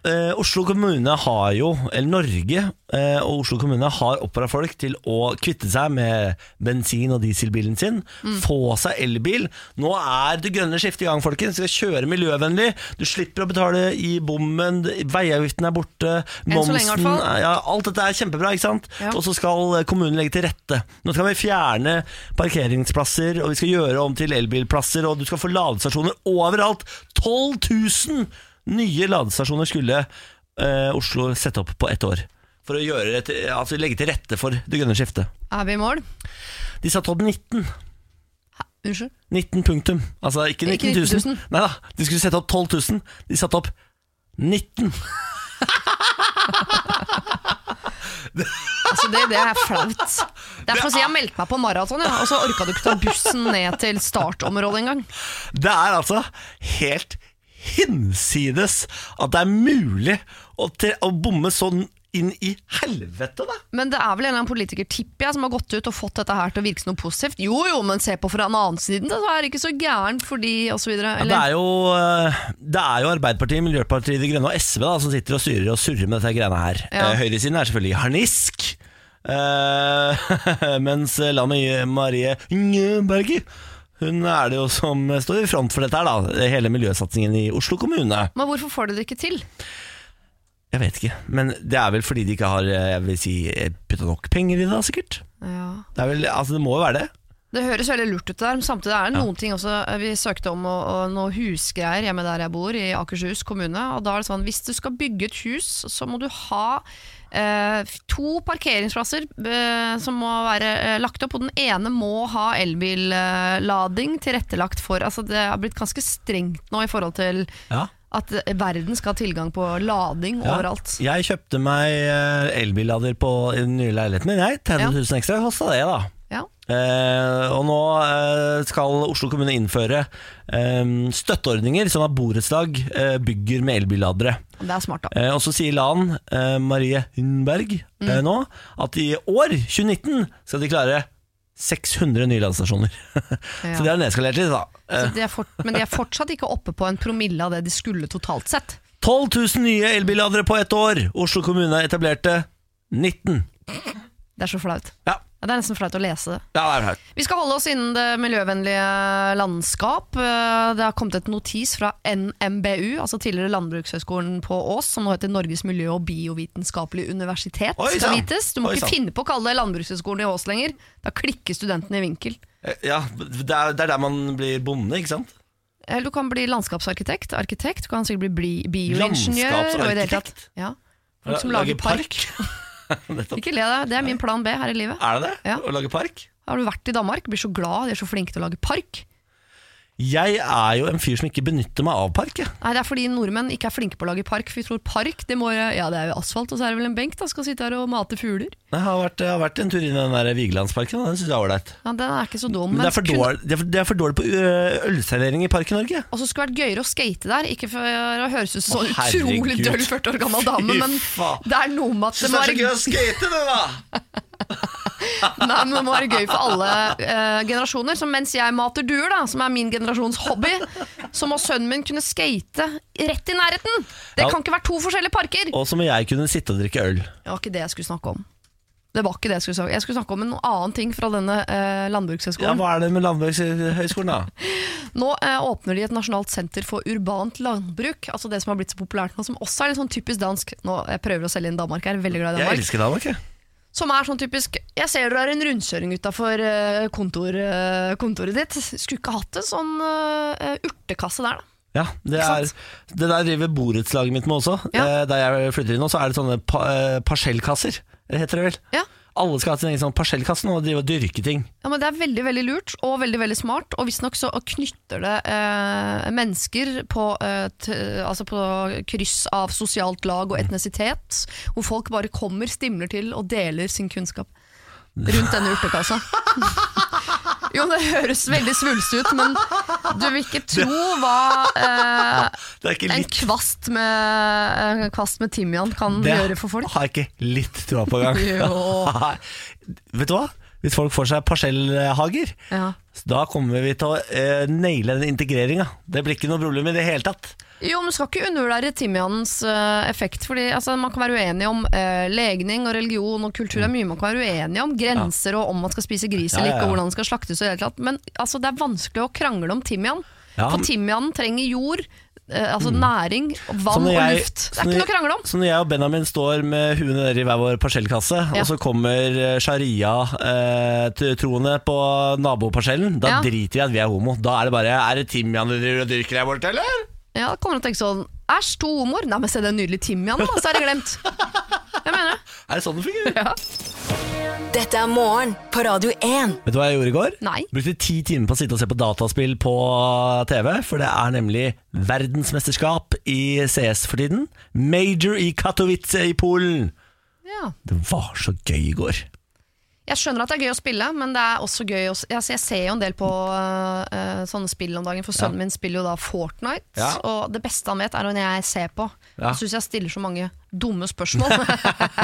[SPEAKER 2] eh, Oslo kommune har jo, eller Norge eh, og Oslo kommune har oppfordra folk til å kvitte seg med bensin- og dieselbilen sin.
[SPEAKER 1] Mm.
[SPEAKER 2] Få seg elbil. Nå er det grønne skiftet i gang, folkens. Vi skal kjøre miljøvennlig. Du slipper å betale i bommen, veiavgiften er borte,
[SPEAKER 1] Enn så lenge, i hvert
[SPEAKER 2] momsen
[SPEAKER 1] fall.
[SPEAKER 2] er- ja, Alt dette er kjempebra, ikke sant?
[SPEAKER 1] Ja.
[SPEAKER 2] Og så skal kommunen legge til rette. Nå skal vi fjerne parkeringsplasser, og vi skal gjøre om til elbilplasser, og du skal få ladestasjoner overalt. 12 000 nye ladestasjoner skulle eh, Oslo sette opp på ett år. For å gjøre det til, altså legge til rette for det grønne skiftet.
[SPEAKER 1] Er vi i mål?
[SPEAKER 2] De satte opp 19.
[SPEAKER 1] Unnskyld.
[SPEAKER 2] 19 punktum. Altså ikke 19
[SPEAKER 1] Ikke
[SPEAKER 2] 000.
[SPEAKER 1] 19 000.
[SPEAKER 2] Nei da, de skulle sette opp 12 000. De satte opp 19.
[SPEAKER 1] Altså, det, det er flaut. Derfor sier jeg meldte meg på maraton, ja. og så orka du ikke ta bussen ned til startområdet engang.
[SPEAKER 2] Det er altså helt hinsides at det er mulig å, te- å bomme sånn inn i helvete, da!
[SPEAKER 1] Men det er vel en eller annen politiker, tipper jeg, som har gått ut og fått dette her til å virke som noe positivt. Jo jo, men se på fra den annen side, så er det ikke så gærent fordi og så videre.
[SPEAKER 2] Ja, det,
[SPEAKER 1] Eller,
[SPEAKER 2] er jo, eh, det er jo Arbeiderpartiet, Miljøpartiet De Grønne og SV da, som sitter og styrer og surrer med dette greiene her.
[SPEAKER 1] Ja.
[SPEAKER 2] Eh, Høyresiden er selvfølgelig i harnisk. eh, mens Lanne Marie Njøberge hun er det jo som står i front for dette her, da. Hele miljøsatsingen i Oslo kommune.
[SPEAKER 1] men hvorfor får de det ikke til?
[SPEAKER 2] Jeg vet ikke, men det er vel fordi de ikke har eh, jeg vil si, putta nok penger i det, da, sikkert.
[SPEAKER 1] Ja.
[SPEAKER 2] Det, er vel, altså, det må jo være det.
[SPEAKER 1] Det høres veldig lurt ut der, men samtidig er det noen ting også eh, Vi søkte om å- å- noe husgreier hjemme der jeg bor, i Akershus kommune. Og da er det sånn, hvis du skal bygge et hus, så må du ha eh, to parkeringsplasser eh, som må være eh, lagt opp, og den ene må ha elbillading eh, lading tilrettelagt for. Altså det har blitt ganske strengt nå i forhold til
[SPEAKER 2] Ja.
[SPEAKER 1] at eh, verden skal ha tilgang på lading
[SPEAKER 2] Ja.
[SPEAKER 1] overalt.
[SPEAKER 2] Jeg kjøpte meg eh, elbillader på i den nye leiligheten min. Jeg, 30 000 ekstra kosta det, da.
[SPEAKER 1] Ja.
[SPEAKER 2] Eh, og nå eh, skal Oslo kommune innføre eh, støtteordninger sånn at borettslag eh, bygger med elbilladere.
[SPEAKER 1] Det er smart, da.
[SPEAKER 2] Eh, og så sier Lan eh, Marie Hundberg eh, nå at i år, 2019, skal de klare 600 nye ladestasjoner.
[SPEAKER 1] Ja.
[SPEAKER 2] så det har nedskalert litt, da. Eh,
[SPEAKER 1] Så de er fort, men de er fortsatt ikke oppe på en promille av det de skulle totalt sett.
[SPEAKER 2] 12 000 nye elbilladere på ett år! Oslo kommune etablerte 19.
[SPEAKER 1] Det er så flaut.
[SPEAKER 2] Ja,
[SPEAKER 1] Ja, det er nesten flaut å lese det.
[SPEAKER 2] ja det er høyt.
[SPEAKER 1] Vi skal holde oss innen det miljøvennlige landskap. Eh, Det har kommet et notis fra NMBU, altså tidligere Landbrukshøgskolen på Ås, som nå heter Norges miljø- og biovitenskapelige universitet.
[SPEAKER 2] Oi,
[SPEAKER 1] skal
[SPEAKER 2] sann!
[SPEAKER 1] vites. Du må
[SPEAKER 2] Oi,
[SPEAKER 1] ikke
[SPEAKER 2] sann.
[SPEAKER 1] finne på å kalle det Landbrukshøgskolen i Ås lenger. Da klikker studentene i vinkel.
[SPEAKER 2] Eh, Ja, det er, det er der man blir bonde, ikke sant?
[SPEAKER 1] Eller Eh, du kan bli landskapsarkitekt, arkitekt, du kan sikkert bli bli- bioingeniør. og i det hele tatt-
[SPEAKER 2] Landskapsarkitekt?
[SPEAKER 1] Ja. Folk som lager park.
[SPEAKER 2] Nettopp.
[SPEAKER 1] Ikke le deg, det er min plan B her i livet.
[SPEAKER 2] Er det det?
[SPEAKER 1] Ja.
[SPEAKER 2] Å lage park?
[SPEAKER 1] Har du vært i Danmark? Blir så glad, de er så flinke til å lage park.
[SPEAKER 2] Jeg er jo en fyr som ikke benytter meg av park. Jeg.
[SPEAKER 1] Nei, det er fordi nordmenn ikke er flinke på å lage park. For vi tror park, det må jo Ja, det er jo asfalt, og så er det vel en benk, da. Skal sitte her og mate fugler.
[SPEAKER 2] Jeg, har vært, jeg har vært en tur inn i den der Vigelandsparken, og den syns jeg er ålreit.
[SPEAKER 1] Ja, den er ikke så dum.
[SPEAKER 2] Men det er, for
[SPEAKER 1] kunne-
[SPEAKER 2] dårlig, det, er for, det er for dårlig på ø, ølservering i Park i Norge.
[SPEAKER 1] Og så skulle det vært gøyere å skate der. Ikke for å høres ut som
[SPEAKER 2] Å,
[SPEAKER 1] sånn utrolig
[SPEAKER 2] herregud.
[SPEAKER 1] døll 40 år gammel dame,
[SPEAKER 2] Fy
[SPEAKER 1] men
[SPEAKER 2] faen.
[SPEAKER 1] det er noe med at det må være gøy,
[SPEAKER 2] skate, det, da!
[SPEAKER 1] nei, men det må være gøy for alle eh, generasjoner. Så mens jeg mater duer, da, som er min generasjons hobby, så må sønnen min kunne skate rett i nærheten! Det
[SPEAKER 2] Ja.
[SPEAKER 1] kan ikke være to forskjellige parker!
[SPEAKER 2] Og så må jeg kunne sitte og drikke øl.
[SPEAKER 1] Det var ikke det jeg skulle snakke om. Det var ikke det Jeg skulle snakke om Jeg skulle snakke om en annen ting fra denne eh,
[SPEAKER 2] Ja,
[SPEAKER 1] landbrukshøgskolen.
[SPEAKER 2] Hva er det med Landbrukshøgskolen, da?
[SPEAKER 1] Nå eh, åpner de et nasjonalt senter for urbant landbruk. Altså Det som har blitt så populært nå, som også er litt sånn typisk dansk. Nå, Jeg prøver å selge inn Danmark her, veldig glad i
[SPEAKER 2] Jeg
[SPEAKER 1] Danmark.
[SPEAKER 2] elsker Danmark, jeg.
[SPEAKER 1] Som er sånn typisk Jeg ser dere har en rundkjøring utafor eh, kontor, eh, kontoret ditt. Skulle ikke hatt en sånn eh, urtekasse der, da.
[SPEAKER 2] Ja, det,
[SPEAKER 1] Ikke
[SPEAKER 2] er, det der driver borettslaget mitt med også.
[SPEAKER 1] Ja.
[SPEAKER 2] Eh, Der jeg flytter inn nå, så er det sånne pa, eh, parsellkasser, eh, heter det vel.
[SPEAKER 1] Ja.
[SPEAKER 2] Alle skal ha sin egen sånn parsellkasse nå og drive og dyrke ting.
[SPEAKER 1] Ja, men Det er veldig veldig lurt og veldig veldig smart. Og visstnok så knytter det eh, mennesker på, eh, t altså på kryss av sosialt lag og etnisitet, hvor folk bare kommer, stimler til og deler sin kunnskap rundt denne urtekassa. Jo, det høres veldig svulstig ut, men du vil ikke tro hva eh,
[SPEAKER 2] Det er ikke
[SPEAKER 1] en
[SPEAKER 2] litt
[SPEAKER 1] kvast med, en kvast med timian kan
[SPEAKER 2] Det
[SPEAKER 1] gjøre for folk.
[SPEAKER 2] har jeg ikke litt troa på engang.
[SPEAKER 1] Jo.
[SPEAKER 2] Nei. Vet du hva? Hvis folk får seg parsellhager,
[SPEAKER 1] Ja.
[SPEAKER 2] da kommer vi til å eh, naile den integreringa. Det blir ikke noe problem i det hele tatt.
[SPEAKER 1] Jo, men Du skal ikke undervurdere timianens eh, effekt. Fordi altså, Man kan være uenig om eh, legning og religion og kultur. Det er mye man kan være uenig om. Grenser og om man skal spise gris
[SPEAKER 2] Ja,
[SPEAKER 1] eller
[SPEAKER 2] ja, ja.
[SPEAKER 1] ikke. Og hvordan den skal slaktes og hele tatt. Men altså, det er vanskelig å krangle om timian.
[SPEAKER 2] Ja, men-
[SPEAKER 1] For timianen trenger jord, eh, altså næring,
[SPEAKER 2] Så
[SPEAKER 1] vann
[SPEAKER 2] når
[SPEAKER 1] og
[SPEAKER 2] jeg-
[SPEAKER 1] luft. Det
[SPEAKER 2] så
[SPEAKER 1] er
[SPEAKER 2] når-
[SPEAKER 1] ikke noe å krangle om.
[SPEAKER 2] Så når jeg og Benjamin står med huene nede i hver vår parsellkasse,
[SPEAKER 1] Ja.
[SPEAKER 2] og så kommer eh, sharia-troende på naboparsellen, da
[SPEAKER 1] Ja.
[SPEAKER 2] driter vi i at vi er homo. Da er det bare Er det timian du driver og dyrker der borte, eller?
[SPEAKER 1] Ja, da kommer du til å tenke sånn Æsj, to homoer. Nei, men se den nydelige timianen, da, så er det glemt. Jeg mener det.
[SPEAKER 2] Er det sånn det fungerer?
[SPEAKER 3] Dette er morgen på Radio 1.
[SPEAKER 2] Vet du hva jeg gjorde i går?
[SPEAKER 1] Nei.
[SPEAKER 2] Brukte ti timer på å sitte og se på dataspill på TV, for det er nemlig verdensmesterskap i CS for tiden. Major i Katowice i Polen.
[SPEAKER 1] Ja.
[SPEAKER 2] Det var så gøy i går.
[SPEAKER 1] Jeg skjønner at det er gøy å spille, men det er også gøy å, s- altså Jeg ser jo en del på øh, øh, sånne spill om dagen, for sønnen min spiller jo da Fortnite.
[SPEAKER 2] Ja.
[SPEAKER 1] Og det beste han vet, er når jeg ser på.
[SPEAKER 2] Ja.
[SPEAKER 1] Jeg syns jeg stiller så mange dumme spørsmål.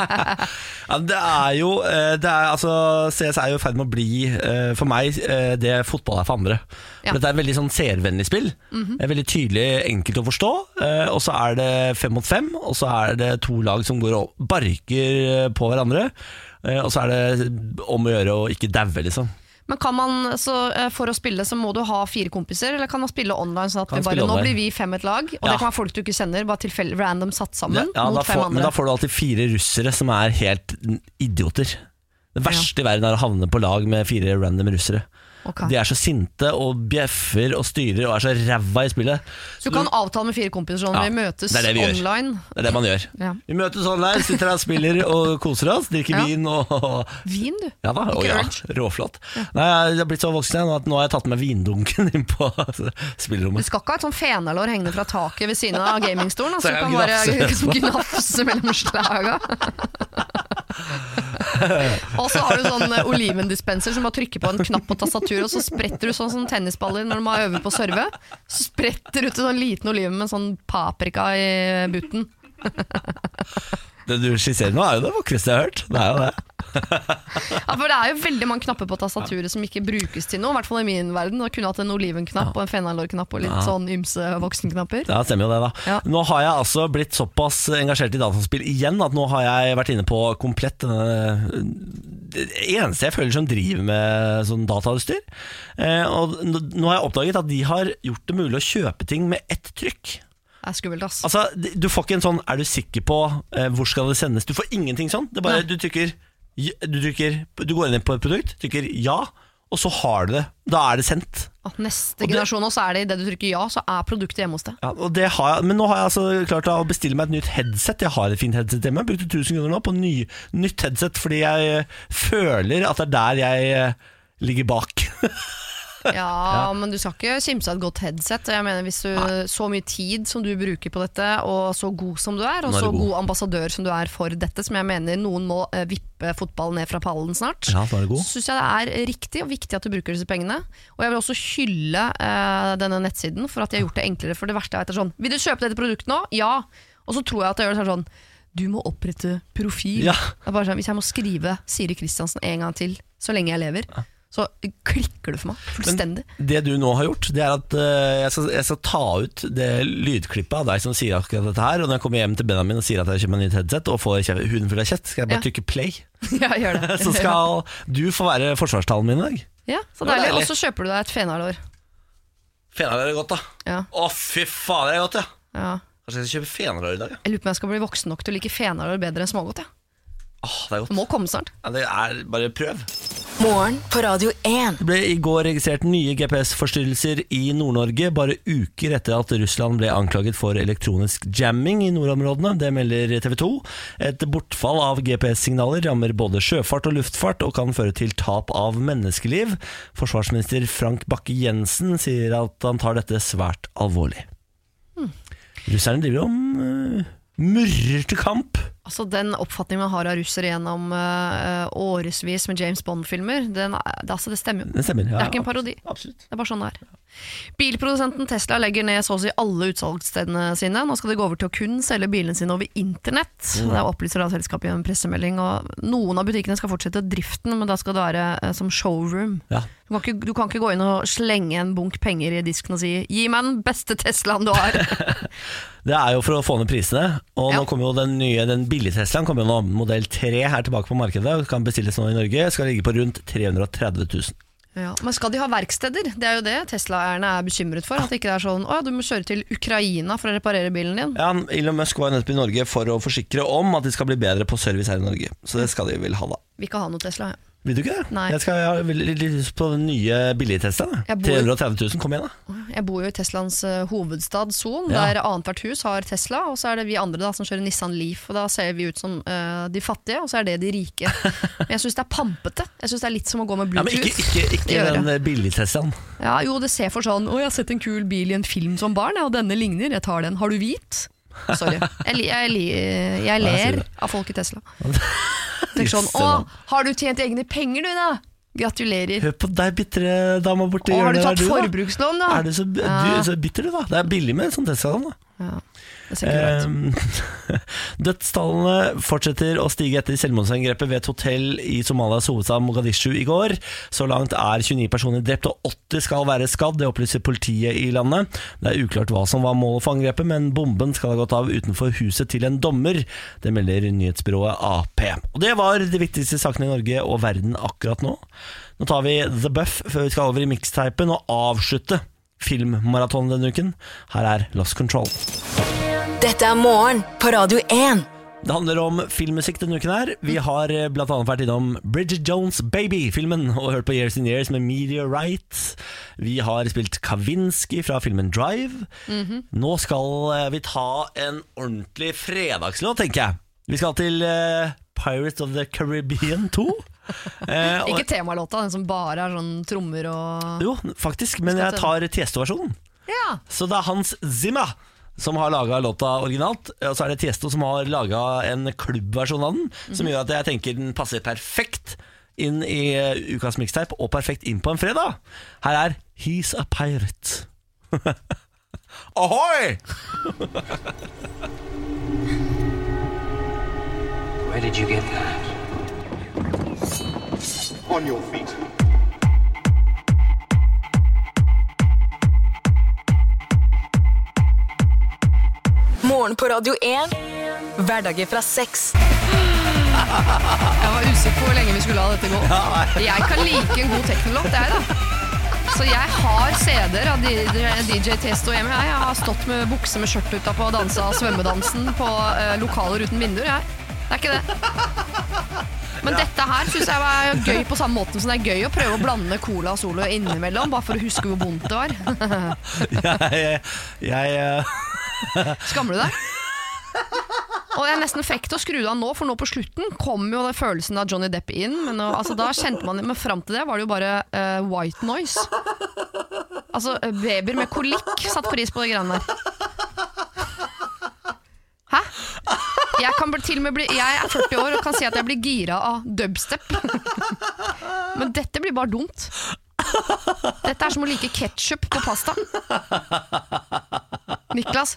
[SPEAKER 2] Ja, det er jo eh, det er, altså, CS er jo i ferd med å bli, eh, for meg, eh, det fotball er for andre.
[SPEAKER 1] Ja. Mhm.
[SPEAKER 2] For Dette er et veldig sånn seervennlig spill. Det er Veldig tydelig, enkelt å forstå. eh, Og så er det fem mot fem, og så er det to lag som går og barker eh, på hverandre. eh, Og så er det om å gjøre å ikke daue, liksom.
[SPEAKER 1] men kan man, så, øh, for å spille så må du ha fire kompiser, eller kan man spille online? Sånn at
[SPEAKER 2] Kan
[SPEAKER 1] vi bare,
[SPEAKER 2] spille
[SPEAKER 1] nå
[SPEAKER 2] online.
[SPEAKER 1] blir vi fem et lag, og
[SPEAKER 2] Ja.
[SPEAKER 1] det kan være folk du ikke kjenner, bare tilfeldig random satt sammen
[SPEAKER 2] Ja, da
[SPEAKER 1] Mhm. mot fem
[SPEAKER 2] får, men
[SPEAKER 1] andre.
[SPEAKER 2] da får du alltid fire russere som er helt n- idioter. Det verste i verden er å havne på lag med fire random russere.
[SPEAKER 1] Ok.
[SPEAKER 2] De er så sinte og bjeffer og styrer og er så ræva i spillet.
[SPEAKER 1] Så du kan avtale med fire kompiser sånn
[SPEAKER 2] Ja,
[SPEAKER 1] vi møtes
[SPEAKER 2] det er det vi gjør.
[SPEAKER 1] online.
[SPEAKER 2] Det er det man gjør.
[SPEAKER 1] Ja.
[SPEAKER 2] Vi møtes online, sitter her og spiller og koser oss, drikker
[SPEAKER 1] Ja.
[SPEAKER 2] vin og
[SPEAKER 1] Vin, du.
[SPEAKER 2] ja da, og
[SPEAKER 1] Ikke
[SPEAKER 2] ja,
[SPEAKER 1] øl.
[SPEAKER 2] råflott. Nei, jeg har blitt så voksen jeg nå at nå har jeg tatt med vindunken inn på
[SPEAKER 1] Du
[SPEAKER 2] spillerommet.
[SPEAKER 1] skal ikke ha et sånn fenalår hengende fra taket ved siden av gamingstolen. Altså,
[SPEAKER 2] Så
[SPEAKER 1] du
[SPEAKER 2] jeg
[SPEAKER 1] kan
[SPEAKER 2] kan
[SPEAKER 1] bare
[SPEAKER 2] gnafse.
[SPEAKER 1] gnafse mellom slaga. og så har du sånn eh, olivendispenser som bare trykker på en knapp på tastaturet, og så spretter du sånn som tennisballer når man øver på å serve. Så spretter du ut en sånn liten oliven med en sånn paprika i butten.
[SPEAKER 2] Det du skisserer nå er jo det vakreste jeg har hørt. Det er jo det.
[SPEAKER 1] Ja, for det er jo veldig mange knapper på tastaturet som ikke brukes til noe, i hvert fall i min verden. Og kunne hatt en olivenknapp og en fenalårknapp og litt sånn ymse voksenknapper.
[SPEAKER 2] Ja, det stemmer jo det da
[SPEAKER 1] Ja.
[SPEAKER 2] Nå har jeg altså blitt såpass engasjert i dataspill igjen At nå har jeg vært inne på komplett denne, Det eneste jeg føler som driver med sånn datautstyr eh, Og n- nå har jeg oppdaget at de har gjort det mulig å kjøpe ting med ett trykk
[SPEAKER 1] Det er skummelt, ass.
[SPEAKER 2] Altså, d- du får ikke en sånn Er du sikker på eh, hvor skal det sendes? Du får ingenting sånn Det er bare, du trykker j- du, trykker, du går inn på et produkt, trykker ja Og så har du det Da er det sendt
[SPEAKER 1] At neste generasjon også er det idet du trykker ja, så er produktet hjemme hos deg.
[SPEAKER 2] Ja, og det har jeg, men nå har jeg altså klart å bestille meg et nytt headset. Jeg har et fint headset hjemme. Jeg brukte 1000 kroner nå på ny, nytt headset fordi jeg eh, føler at det er der jeg eh, ligger bak.
[SPEAKER 1] Ja, Men du skal ikke kimse av et godt headset. Jeg mener, hvis du, Så mye tid som du bruker på dette, og så god som du er, og
[SPEAKER 2] Nå er du
[SPEAKER 1] så
[SPEAKER 2] god.
[SPEAKER 1] god ambassadør som du er for dette, som jeg mener noen må eh, vippe fotballen ned fra pallen snart,
[SPEAKER 2] Ja, nå er du god.
[SPEAKER 1] så syns jeg det er riktig og viktig at du bruker disse pengene. Og jeg vil også hylle eh, denne nettsiden for at de har gjort det enklere. For det verste jeg vet er sånn Vil du kjøpe dette produktet nå? Ja. Og så tror jeg at jeg gjør det sånn Du må opprette profil.
[SPEAKER 2] Ja.
[SPEAKER 1] Det er bare sånn, hvis jeg må skrive Siri Kristiansen en gang til så lenge jeg lever, så klikker det for meg fullstendig.
[SPEAKER 2] Det du nå har gjort, det er at eh, jeg skal, jeg skal ta ut det lydklippet av deg som sier akkurat dette her. Og når jeg kommer hjem til Benjamin og sier at jeg kjøper meg nytt headset og får kjef- huden full av kjeft, skal jeg bare
[SPEAKER 1] Ja.
[SPEAKER 2] trykke play.
[SPEAKER 1] ja, gjør det.
[SPEAKER 2] Så skal du få være forsvarstalen min i dag.
[SPEAKER 1] ja, så
[SPEAKER 2] Det var
[SPEAKER 1] deilig.
[SPEAKER 2] deilig.
[SPEAKER 1] Og så kjøper du deg et fenalår.
[SPEAKER 2] Fenalår er godt, da.
[SPEAKER 1] Ja,
[SPEAKER 2] Å, fy faen, det er godt, ja.
[SPEAKER 1] ja.
[SPEAKER 2] Kanskje jeg skal kjøpe fenalår i dag, ja.
[SPEAKER 1] Jeg lurer på om jeg skal bli voksen nok til å like fenalår bedre enn smågodt. Ja.
[SPEAKER 2] Åh, det er
[SPEAKER 1] Det
[SPEAKER 2] godt.
[SPEAKER 1] må komme snart.
[SPEAKER 2] Ja, det er bare prøv.
[SPEAKER 3] Morgen på Radio 1.
[SPEAKER 2] Det ble i går registrert nye GPS-forstyrrelser i Nord-Norge, bare uker etter at Russland ble anklaget for elektronisk jamming i nordområdene. Det melder TV 2. Et bortfall av GPS-signaler rammer både sjøfart og luftfart, og kan føre til tap av menneskeliv. Forsvarsminister Frank Bakke-Jensen sier at han tar dette svært alvorlig.
[SPEAKER 1] Hmm.
[SPEAKER 2] Russerne driver om uh, murrer til kamp.
[SPEAKER 1] Altså Den oppfatningen man har av russere gjennom eh, årevis med James Bond-filmer, den er- det, altså, det stemmer jo.
[SPEAKER 2] Det stemmer.
[SPEAKER 1] Det er ikke en parodi.
[SPEAKER 2] Absolutt.
[SPEAKER 1] Det er bare sånn det er. Bilprodusenten Tesla legger ned så å si alle utsalgsstedene sine. Nå skal de gå over til å kun selge bilene sine over internett. Det opplyser da selskapet i en pressemelding. Og noen av butikkene skal fortsette driften, men da skal det være eh, som showroom.
[SPEAKER 2] Ja.
[SPEAKER 1] Du kan, ikke, du kan ikke gå inn og slenge en bunk penger i disken og si 'gi meg den beste Teslaen du har'.
[SPEAKER 2] Det er jo for å få ned prisene. Og
[SPEAKER 1] Ja.
[SPEAKER 2] nå kommer jo den nye, den billige Teslaen, kommer jo nå, modell 3 her tilbake på markedet. og Kan bestilles nå i Norge. Skal ligge på rundt 330 000.
[SPEAKER 1] Ja, men skal de ha verksteder? Det er jo det Tesla-eierne er bekymret for. At det ikke er sånn 'å, du må kjøre til Ukraina for å reparere bilen din'.
[SPEAKER 2] Ja, Elon Musk var jo nettopp i Norge for å forsikre om at de skal bli bedre på service her i Norge. Så det skal de vel ha, da.
[SPEAKER 1] Vil ikke ha noe Tesla. jeg.
[SPEAKER 2] Vil du ikke det?
[SPEAKER 1] Nei.
[SPEAKER 2] Jeg, skal, jeg har veldig litt lyst på den nye billige Teslaen. da.
[SPEAKER 1] Jeg bor-
[SPEAKER 2] 330 000, kom igjen, da.
[SPEAKER 1] Jeg bor jo i Teslas eh, hovedstad Son,
[SPEAKER 2] Ja.
[SPEAKER 1] der annethvert hus har Tesla, og så er det vi andre da som kjører Nissan Leaf. Og da ser vi ut som eh, de fattige, og så er det de rike. Men jeg syns det er pampete. Jeg synes Det er litt som å gå med
[SPEAKER 2] Ja, men
[SPEAKER 1] Bluetooth.
[SPEAKER 2] ikke, ikke,
[SPEAKER 1] i
[SPEAKER 2] ikke
[SPEAKER 1] øret.
[SPEAKER 2] den billige Teslaen.
[SPEAKER 1] Ja, jo, det ser for sånn 'Å, jeg har sett en kul bil i en film som barn, ja, og denne ligner. Jeg tar den. Har du hvit?' Sorry. Jeg, li- jeg, li- jeg
[SPEAKER 2] Nei, jeg
[SPEAKER 1] ler
[SPEAKER 2] sier det.
[SPEAKER 1] av folk i Tesla. Tenk sånn Å,
[SPEAKER 2] Jøsse navn.
[SPEAKER 1] har du tjent egne penger, du, da? Gratulerer.
[SPEAKER 2] Hør på deg, bitre dama borti
[SPEAKER 1] Å, har
[SPEAKER 2] hjørnet
[SPEAKER 1] du
[SPEAKER 2] der,
[SPEAKER 1] tatt
[SPEAKER 2] du, da.
[SPEAKER 1] forbrukslån, da?
[SPEAKER 2] Er du så, du
[SPEAKER 1] Ja.
[SPEAKER 2] er så bitter, du, da? Det er billig med en sånn Tesla. Da.
[SPEAKER 1] Ja, det ser ikke bra ut.
[SPEAKER 2] Eh, Dødstallene fortsetter å stige etter selvmordsangrepet ved et hotell i Somalias hovedstad Mogadishu i går. Så langt er 29 personer drept og 80 skal være skadd, det opplyser politiet i landet. Det er uklart hva som var målet for angrepet, men bomben skal ha gått av utenfor huset til en dommer. Det melder nyhetsbyrået AP. Og det var de viktigste sakene i Norge og verden akkurat nå. Nå tar vi The Buff før vi skal over i mixtapen og avslutte filmmaratonen denne uken. Her er Lost Control.
[SPEAKER 3] Dette er morgen på Radio 1.
[SPEAKER 2] Det handler om filmmusikk denne uken her. Vi har eh, blant annet vært innom Bridget Jones' Baby-filmen og hørt på Years in Years med Meteorite. Vi har spilt Kavinsky fra filmen Drive. Nå skal eh, vi ta en ordentlig fredagslåt, tenker jeg. Vi skal til eh, Pirates of the Caribbean 2. Eh, og-
[SPEAKER 1] Ikke temalåta, den som bare har sånn trommer og
[SPEAKER 2] jo, faktisk, men jeg tar Tiesto-versjonen.
[SPEAKER 1] Ja!
[SPEAKER 2] Så det er Hans Zimmer som har laga låta originalt, og så er det Tiesto som har laga en klubbversjon av den,
[SPEAKER 1] Mhm.
[SPEAKER 2] som gjør at jeg tenker den passer perfekt inn i eh, ukas mixtape, og perfekt inn på en fredag. Her er He's a Pirate. Ahoy!
[SPEAKER 7] Where did you get that?
[SPEAKER 8] On your feet.
[SPEAKER 3] Morgen på Radio 1. Hverdager fra seks.
[SPEAKER 1] Jeg var usikker på hvor lenge vi skulle la dette gå. Jeg kan like en god teknolåt, jeg, da. Så jeg har CD-er av D- DJ Testo hjemme. Jeg har stått med bukse med skjørt utapå og dansa svømmedansen på eh, lokaler uten vinduer. Jeg. Det er ikke det. Men dette her syns jeg var gøy på samme måten som det er gøy å prøve å blande cola og solo innimellom, bare for å huske hvor vondt det var.
[SPEAKER 2] Jeg, jeg eh,
[SPEAKER 1] Skammer du deg? Og jeg nesten fikk til å skru det av nå, for nå på slutten kom jo den følelsen av Johnny Depp inn. Men, nå, altså, da kjente man, men fram til det var det jo bare eh, white noise. Altså, eh, babyer med kolikk satt pris på det greiene der. Hæ? Jeg, kan bli, til og med bli, jeg er 40 år og kan si at jeg blir gira av dubstep. Men dette blir bare dumt. Dette er som å like ketsjup på pasta. Niklas,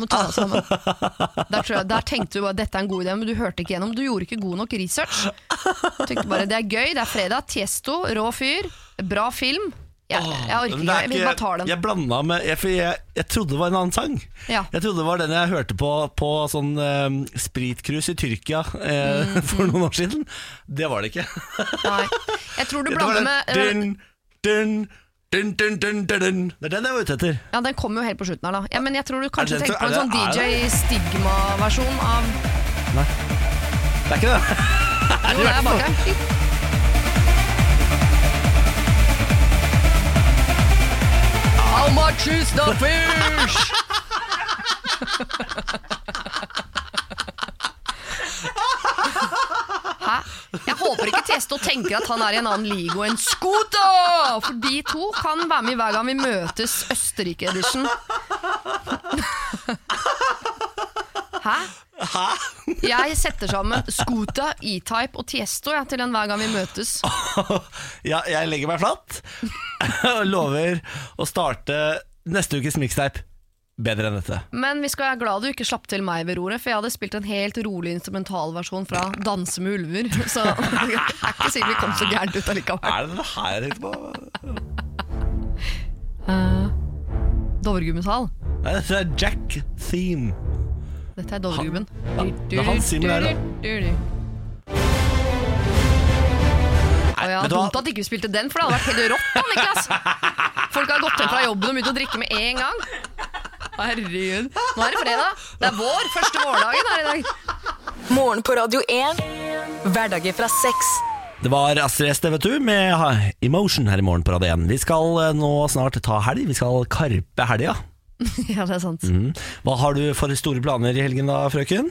[SPEAKER 1] må ta deg sammen. Der, tror jeg, der tenkte du bare dette er en god idé, men du hørte ikke gjennom. Du gjorde ikke god nok research. Du tenkte bare det er gøy, det er fredag, Tiesto, rå fyr, bra film. Jeg, jeg orker
[SPEAKER 2] men det er
[SPEAKER 1] ikke, jeg vil
[SPEAKER 2] ikke-
[SPEAKER 1] bare ta den.
[SPEAKER 2] Jeg blanda med jeg, for jeg, jeg trodde det var en annen sang.
[SPEAKER 1] Ja.
[SPEAKER 2] Jeg trodde det var den jeg hørte på på sånn um, spritcruise i Tyrkia eh, for
[SPEAKER 1] Mm.
[SPEAKER 2] noen år siden. Det var det ikke.
[SPEAKER 1] Nei. Jeg tror du
[SPEAKER 2] Det var
[SPEAKER 1] blander
[SPEAKER 2] den
[SPEAKER 1] med eh,
[SPEAKER 2] dun, dun, dun, dun, dun, dun, dun. Det er den jeg var ute etter.
[SPEAKER 1] Ja, den kommer jo helt på slutten her, da. Ja, men jeg tror du kanskje
[SPEAKER 2] det-
[SPEAKER 1] tenker på en
[SPEAKER 2] er
[SPEAKER 1] sånn
[SPEAKER 2] det- er
[SPEAKER 1] DJ Stigma-versjon av
[SPEAKER 2] Det er ikke det.
[SPEAKER 1] Jo, det er bak her. How much is the fish? Hæ? Jeg håper ikke Testo tenker at han er i en annen liga enn Scooto! For de to kan være med hver gang vi møtes Østerrike-edition. Hæ? Jeg setter sammen Scooter, E-Type og Tiesto jeg, til en hver gang vi møtes.
[SPEAKER 2] Ja, jeg legger meg flatt og lover å starte neste ukes mixtape bedre enn dette.
[SPEAKER 1] Men vi skal være glad du ikke slapp til meg ved roret, for jeg hadde spilt en helt rolig instrumentalversjon fra 'Danse med ulver'. Så jeg er ikke sikkert vi kom så gærent ut allikevel.
[SPEAKER 2] Er det det her jeg tenkte på?
[SPEAKER 1] Dovregubbens hall.
[SPEAKER 2] Nei, dette er Jack Theme.
[SPEAKER 1] Dette er Dovregubben.
[SPEAKER 2] det er Hans Zimmer der, da.
[SPEAKER 1] Å ja,
[SPEAKER 2] vet du hva?
[SPEAKER 1] dumt at ikke vi spilte den, for det hadde vært helt rått da, Niklas. Folk har gått hjem fra jobben og begynt å drikke med en gang. Herregud. Nå er det fredag. Det er vår. Første vårdagen her i dag.
[SPEAKER 3] Morgen på Radio 1. Hverdager fra seks.
[SPEAKER 2] Det var Astrid S, det vet du, med ha- Emotion her i morgen på Radio 1. Vi skal eh, nå snart ta helg. Vi skal karpe helga. Mhm.
[SPEAKER 1] Ja, det er sant.
[SPEAKER 2] Hva har du for store planer i helgen da, frøken?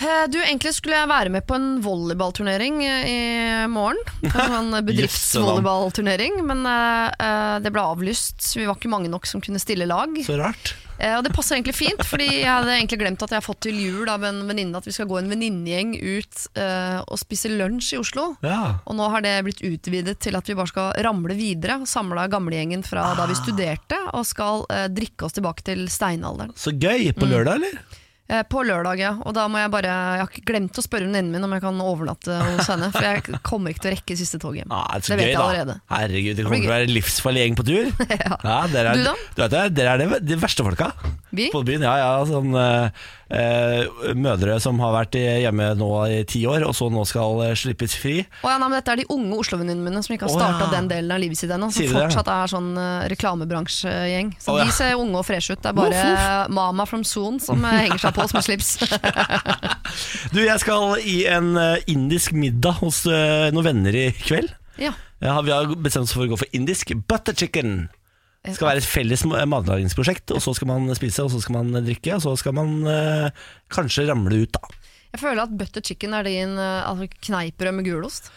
[SPEAKER 1] Eh, Du, Egentlig skulle jeg være med på en volleyballturnering eh, i morgen. En sånn bedriftsvolleyballturnering, men eh, eh, det ble avlyst. Vi var ikke mange nok som kunne stille lag.
[SPEAKER 2] Så rart.
[SPEAKER 1] Eh, Og det passer egentlig fint, fordi jeg hadde egentlig glemt at jeg har fått til jul av en venninne at vi skal gå en venninnegjeng ut eh, og spise lunsj i Oslo.
[SPEAKER 2] Ja.
[SPEAKER 1] Og nå har det blitt utvidet til at vi bare skal ramle videre. Samla gamlegjengen fra da
[SPEAKER 2] Ah.
[SPEAKER 1] vi studerte, og skal eh, drikke oss tilbake til steinalderen.
[SPEAKER 2] Så gøy. På lørdag, eller?
[SPEAKER 1] Eh, På lørdag, ja. Og da må jeg bare Jeg har ikke glemt å spørre venninnen min om jeg kan overnatte hos henne. For jeg kommer ikke til å rekke siste tog hjem.
[SPEAKER 2] Ja, Ah, det, er så
[SPEAKER 1] vet
[SPEAKER 2] gøy,
[SPEAKER 1] jeg
[SPEAKER 2] da.
[SPEAKER 1] allerede.
[SPEAKER 2] Herregud, det kommer
[SPEAKER 1] blir
[SPEAKER 2] til å være en livsfarlig gjeng på tur. ja. dere er,
[SPEAKER 1] Du da?
[SPEAKER 2] Du vet, det, dere er det, de verste folka
[SPEAKER 1] Vi?
[SPEAKER 2] på byen. Ja, ja, sånn, eh, eh, mødre som har vært i- hjemme nå i ti år, og så nå skal eh, slippes fri.
[SPEAKER 1] Å ja, nei, men dette er de unge Oslo-venninnene mine som ikke har
[SPEAKER 2] Å, ja.
[SPEAKER 1] starta den delen av livet sitt ennå. Som
[SPEAKER 2] Sier du det?
[SPEAKER 1] fortsatt er sånn eh, reklamebransjegjeng. Så
[SPEAKER 2] Å, ja.
[SPEAKER 1] de ser unge og freshe ut. Det er bare Mama from Son som eh, henger seg på som en slips.
[SPEAKER 2] Du, jeg skal i en eh, indisk middag hos eh, noen venner i kveld.
[SPEAKER 1] ja.
[SPEAKER 2] Ja, vi har bestemt oss for å gå for indisk butter chicken. Det skal være et felles ma- matlagingsprosjekt, og så skal man spise, og så skal man drikke, og så skal man eh, kanskje ramle ut, da.
[SPEAKER 1] Jeg føler at butter chicken er din eh, altså, kneippbrød med gulost.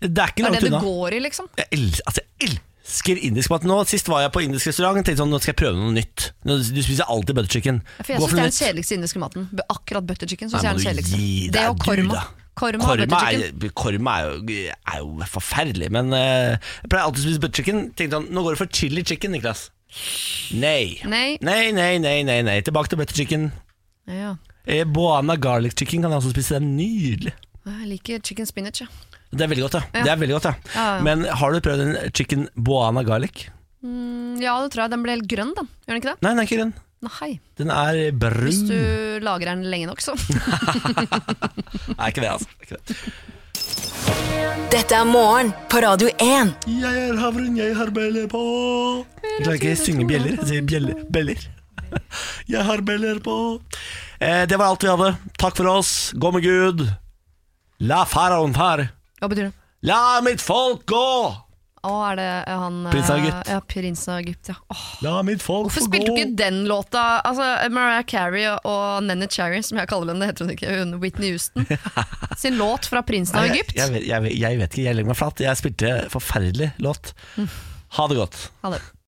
[SPEAKER 2] Det er ikke
[SPEAKER 1] Det er
[SPEAKER 2] langt
[SPEAKER 1] det det
[SPEAKER 2] unna.
[SPEAKER 1] går i, liksom.
[SPEAKER 2] Jeg elsker, altså, jeg elsker indisk mat. Nå, sist var jeg på indisk restaurant og tenkte sånn, nå skal jeg prøve noe nytt. Nå, du spiser alltid butter chicken.
[SPEAKER 1] For jeg
[SPEAKER 2] Gå
[SPEAKER 1] syns det er den
[SPEAKER 2] noe nytt.
[SPEAKER 1] kjedeligste indiske maten. B- Akkurat butter chicken syns jeg
[SPEAKER 2] Nei,
[SPEAKER 1] er den
[SPEAKER 2] må du
[SPEAKER 1] kjedeligste.
[SPEAKER 2] gi
[SPEAKER 1] Det
[SPEAKER 2] deg,
[SPEAKER 1] og
[SPEAKER 2] du,
[SPEAKER 1] korma.
[SPEAKER 2] da.
[SPEAKER 1] Korma, og
[SPEAKER 2] Korma,
[SPEAKER 1] butter chicken.
[SPEAKER 2] er, korma er, jo, er jo forferdelig, men eh, jeg pleier alltid å spise butter chicken. Tenkte sånn, nå går det for chili chicken, Niklas. Nei.
[SPEAKER 1] Nei.
[SPEAKER 2] Nei, nei, nei, nei, nei. Tilbake til butter chicken.
[SPEAKER 1] Ja,
[SPEAKER 2] Eh, Boana garlic chicken kan jeg også spise. Det er nydelig.
[SPEAKER 1] jeg liker chicken spinach. Ja.
[SPEAKER 2] Det er veldig godt, ja.
[SPEAKER 1] Ja.
[SPEAKER 2] Det er veldig godt, ja.
[SPEAKER 1] Ja, ja.
[SPEAKER 2] Men har du prøvd en chicken boana garlic?
[SPEAKER 1] Mm, ja, det tror jeg. Den ble helt grønn, den. Gjør den ikke det?
[SPEAKER 2] Nei, den er ikke grønn.
[SPEAKER 1] Nei.
[SPEAKER 2] Den er brun.
[SPEAKER 1] Hvis du
[SPEAKER 2] Mm.
[SPEAKER 1] lagrer den lenge nok, så.
[SPEAKER 2] Nei, ikke det, altså. Ikke det.
[SPEAKER 3] Dette er morgen på Radio 1.
[SPEAKER 2] Jeg er havren, jeg har bjeller på. Jeg klarer ikke å synge bjeller, jeg sier bjeller. Beller. Jeg har bjeller på. Eh, det var alt vi hadde. Takk for oss. Gå med Gud. La faraoen far.
[SPEAKER 1] Hva betyr det?
[SPEAKER 2] La mitt folk gå!
[SPEAKER 1] Å, er det eh, han eh,
[SPEAKER 2] Prins av Egypt.
[SPEAKER 1] Ja, prins av Egypt, ja. Åh,
[SPEAKER 2] La mitt folk
[SPEAKER 1] hvorfor
[SPEAKER 2] få
[SPEAKER 1] spilte du
[SPEAKER 2] gå.
[SPEAKER 1] ikke den låta? Altså, Mariah Carey og Nene Cherry, som jeg kaller henne, det heter hun ikke, hun Whitney Houston, sin låt fra prinsen av
[SPEAKER 2] Nei,
[SPEAKER 1] Egypt.
[SPEAKER 2] Jeg, jeg,
[SPEAKER 1] Mm.
[SPEAKER 2] vet- jeg, vet- jeg vet ikke, jeg legger meg flat. Jeg spilte forferdelig låt. Ha det godt.
[SPEAKER 1] Ha det.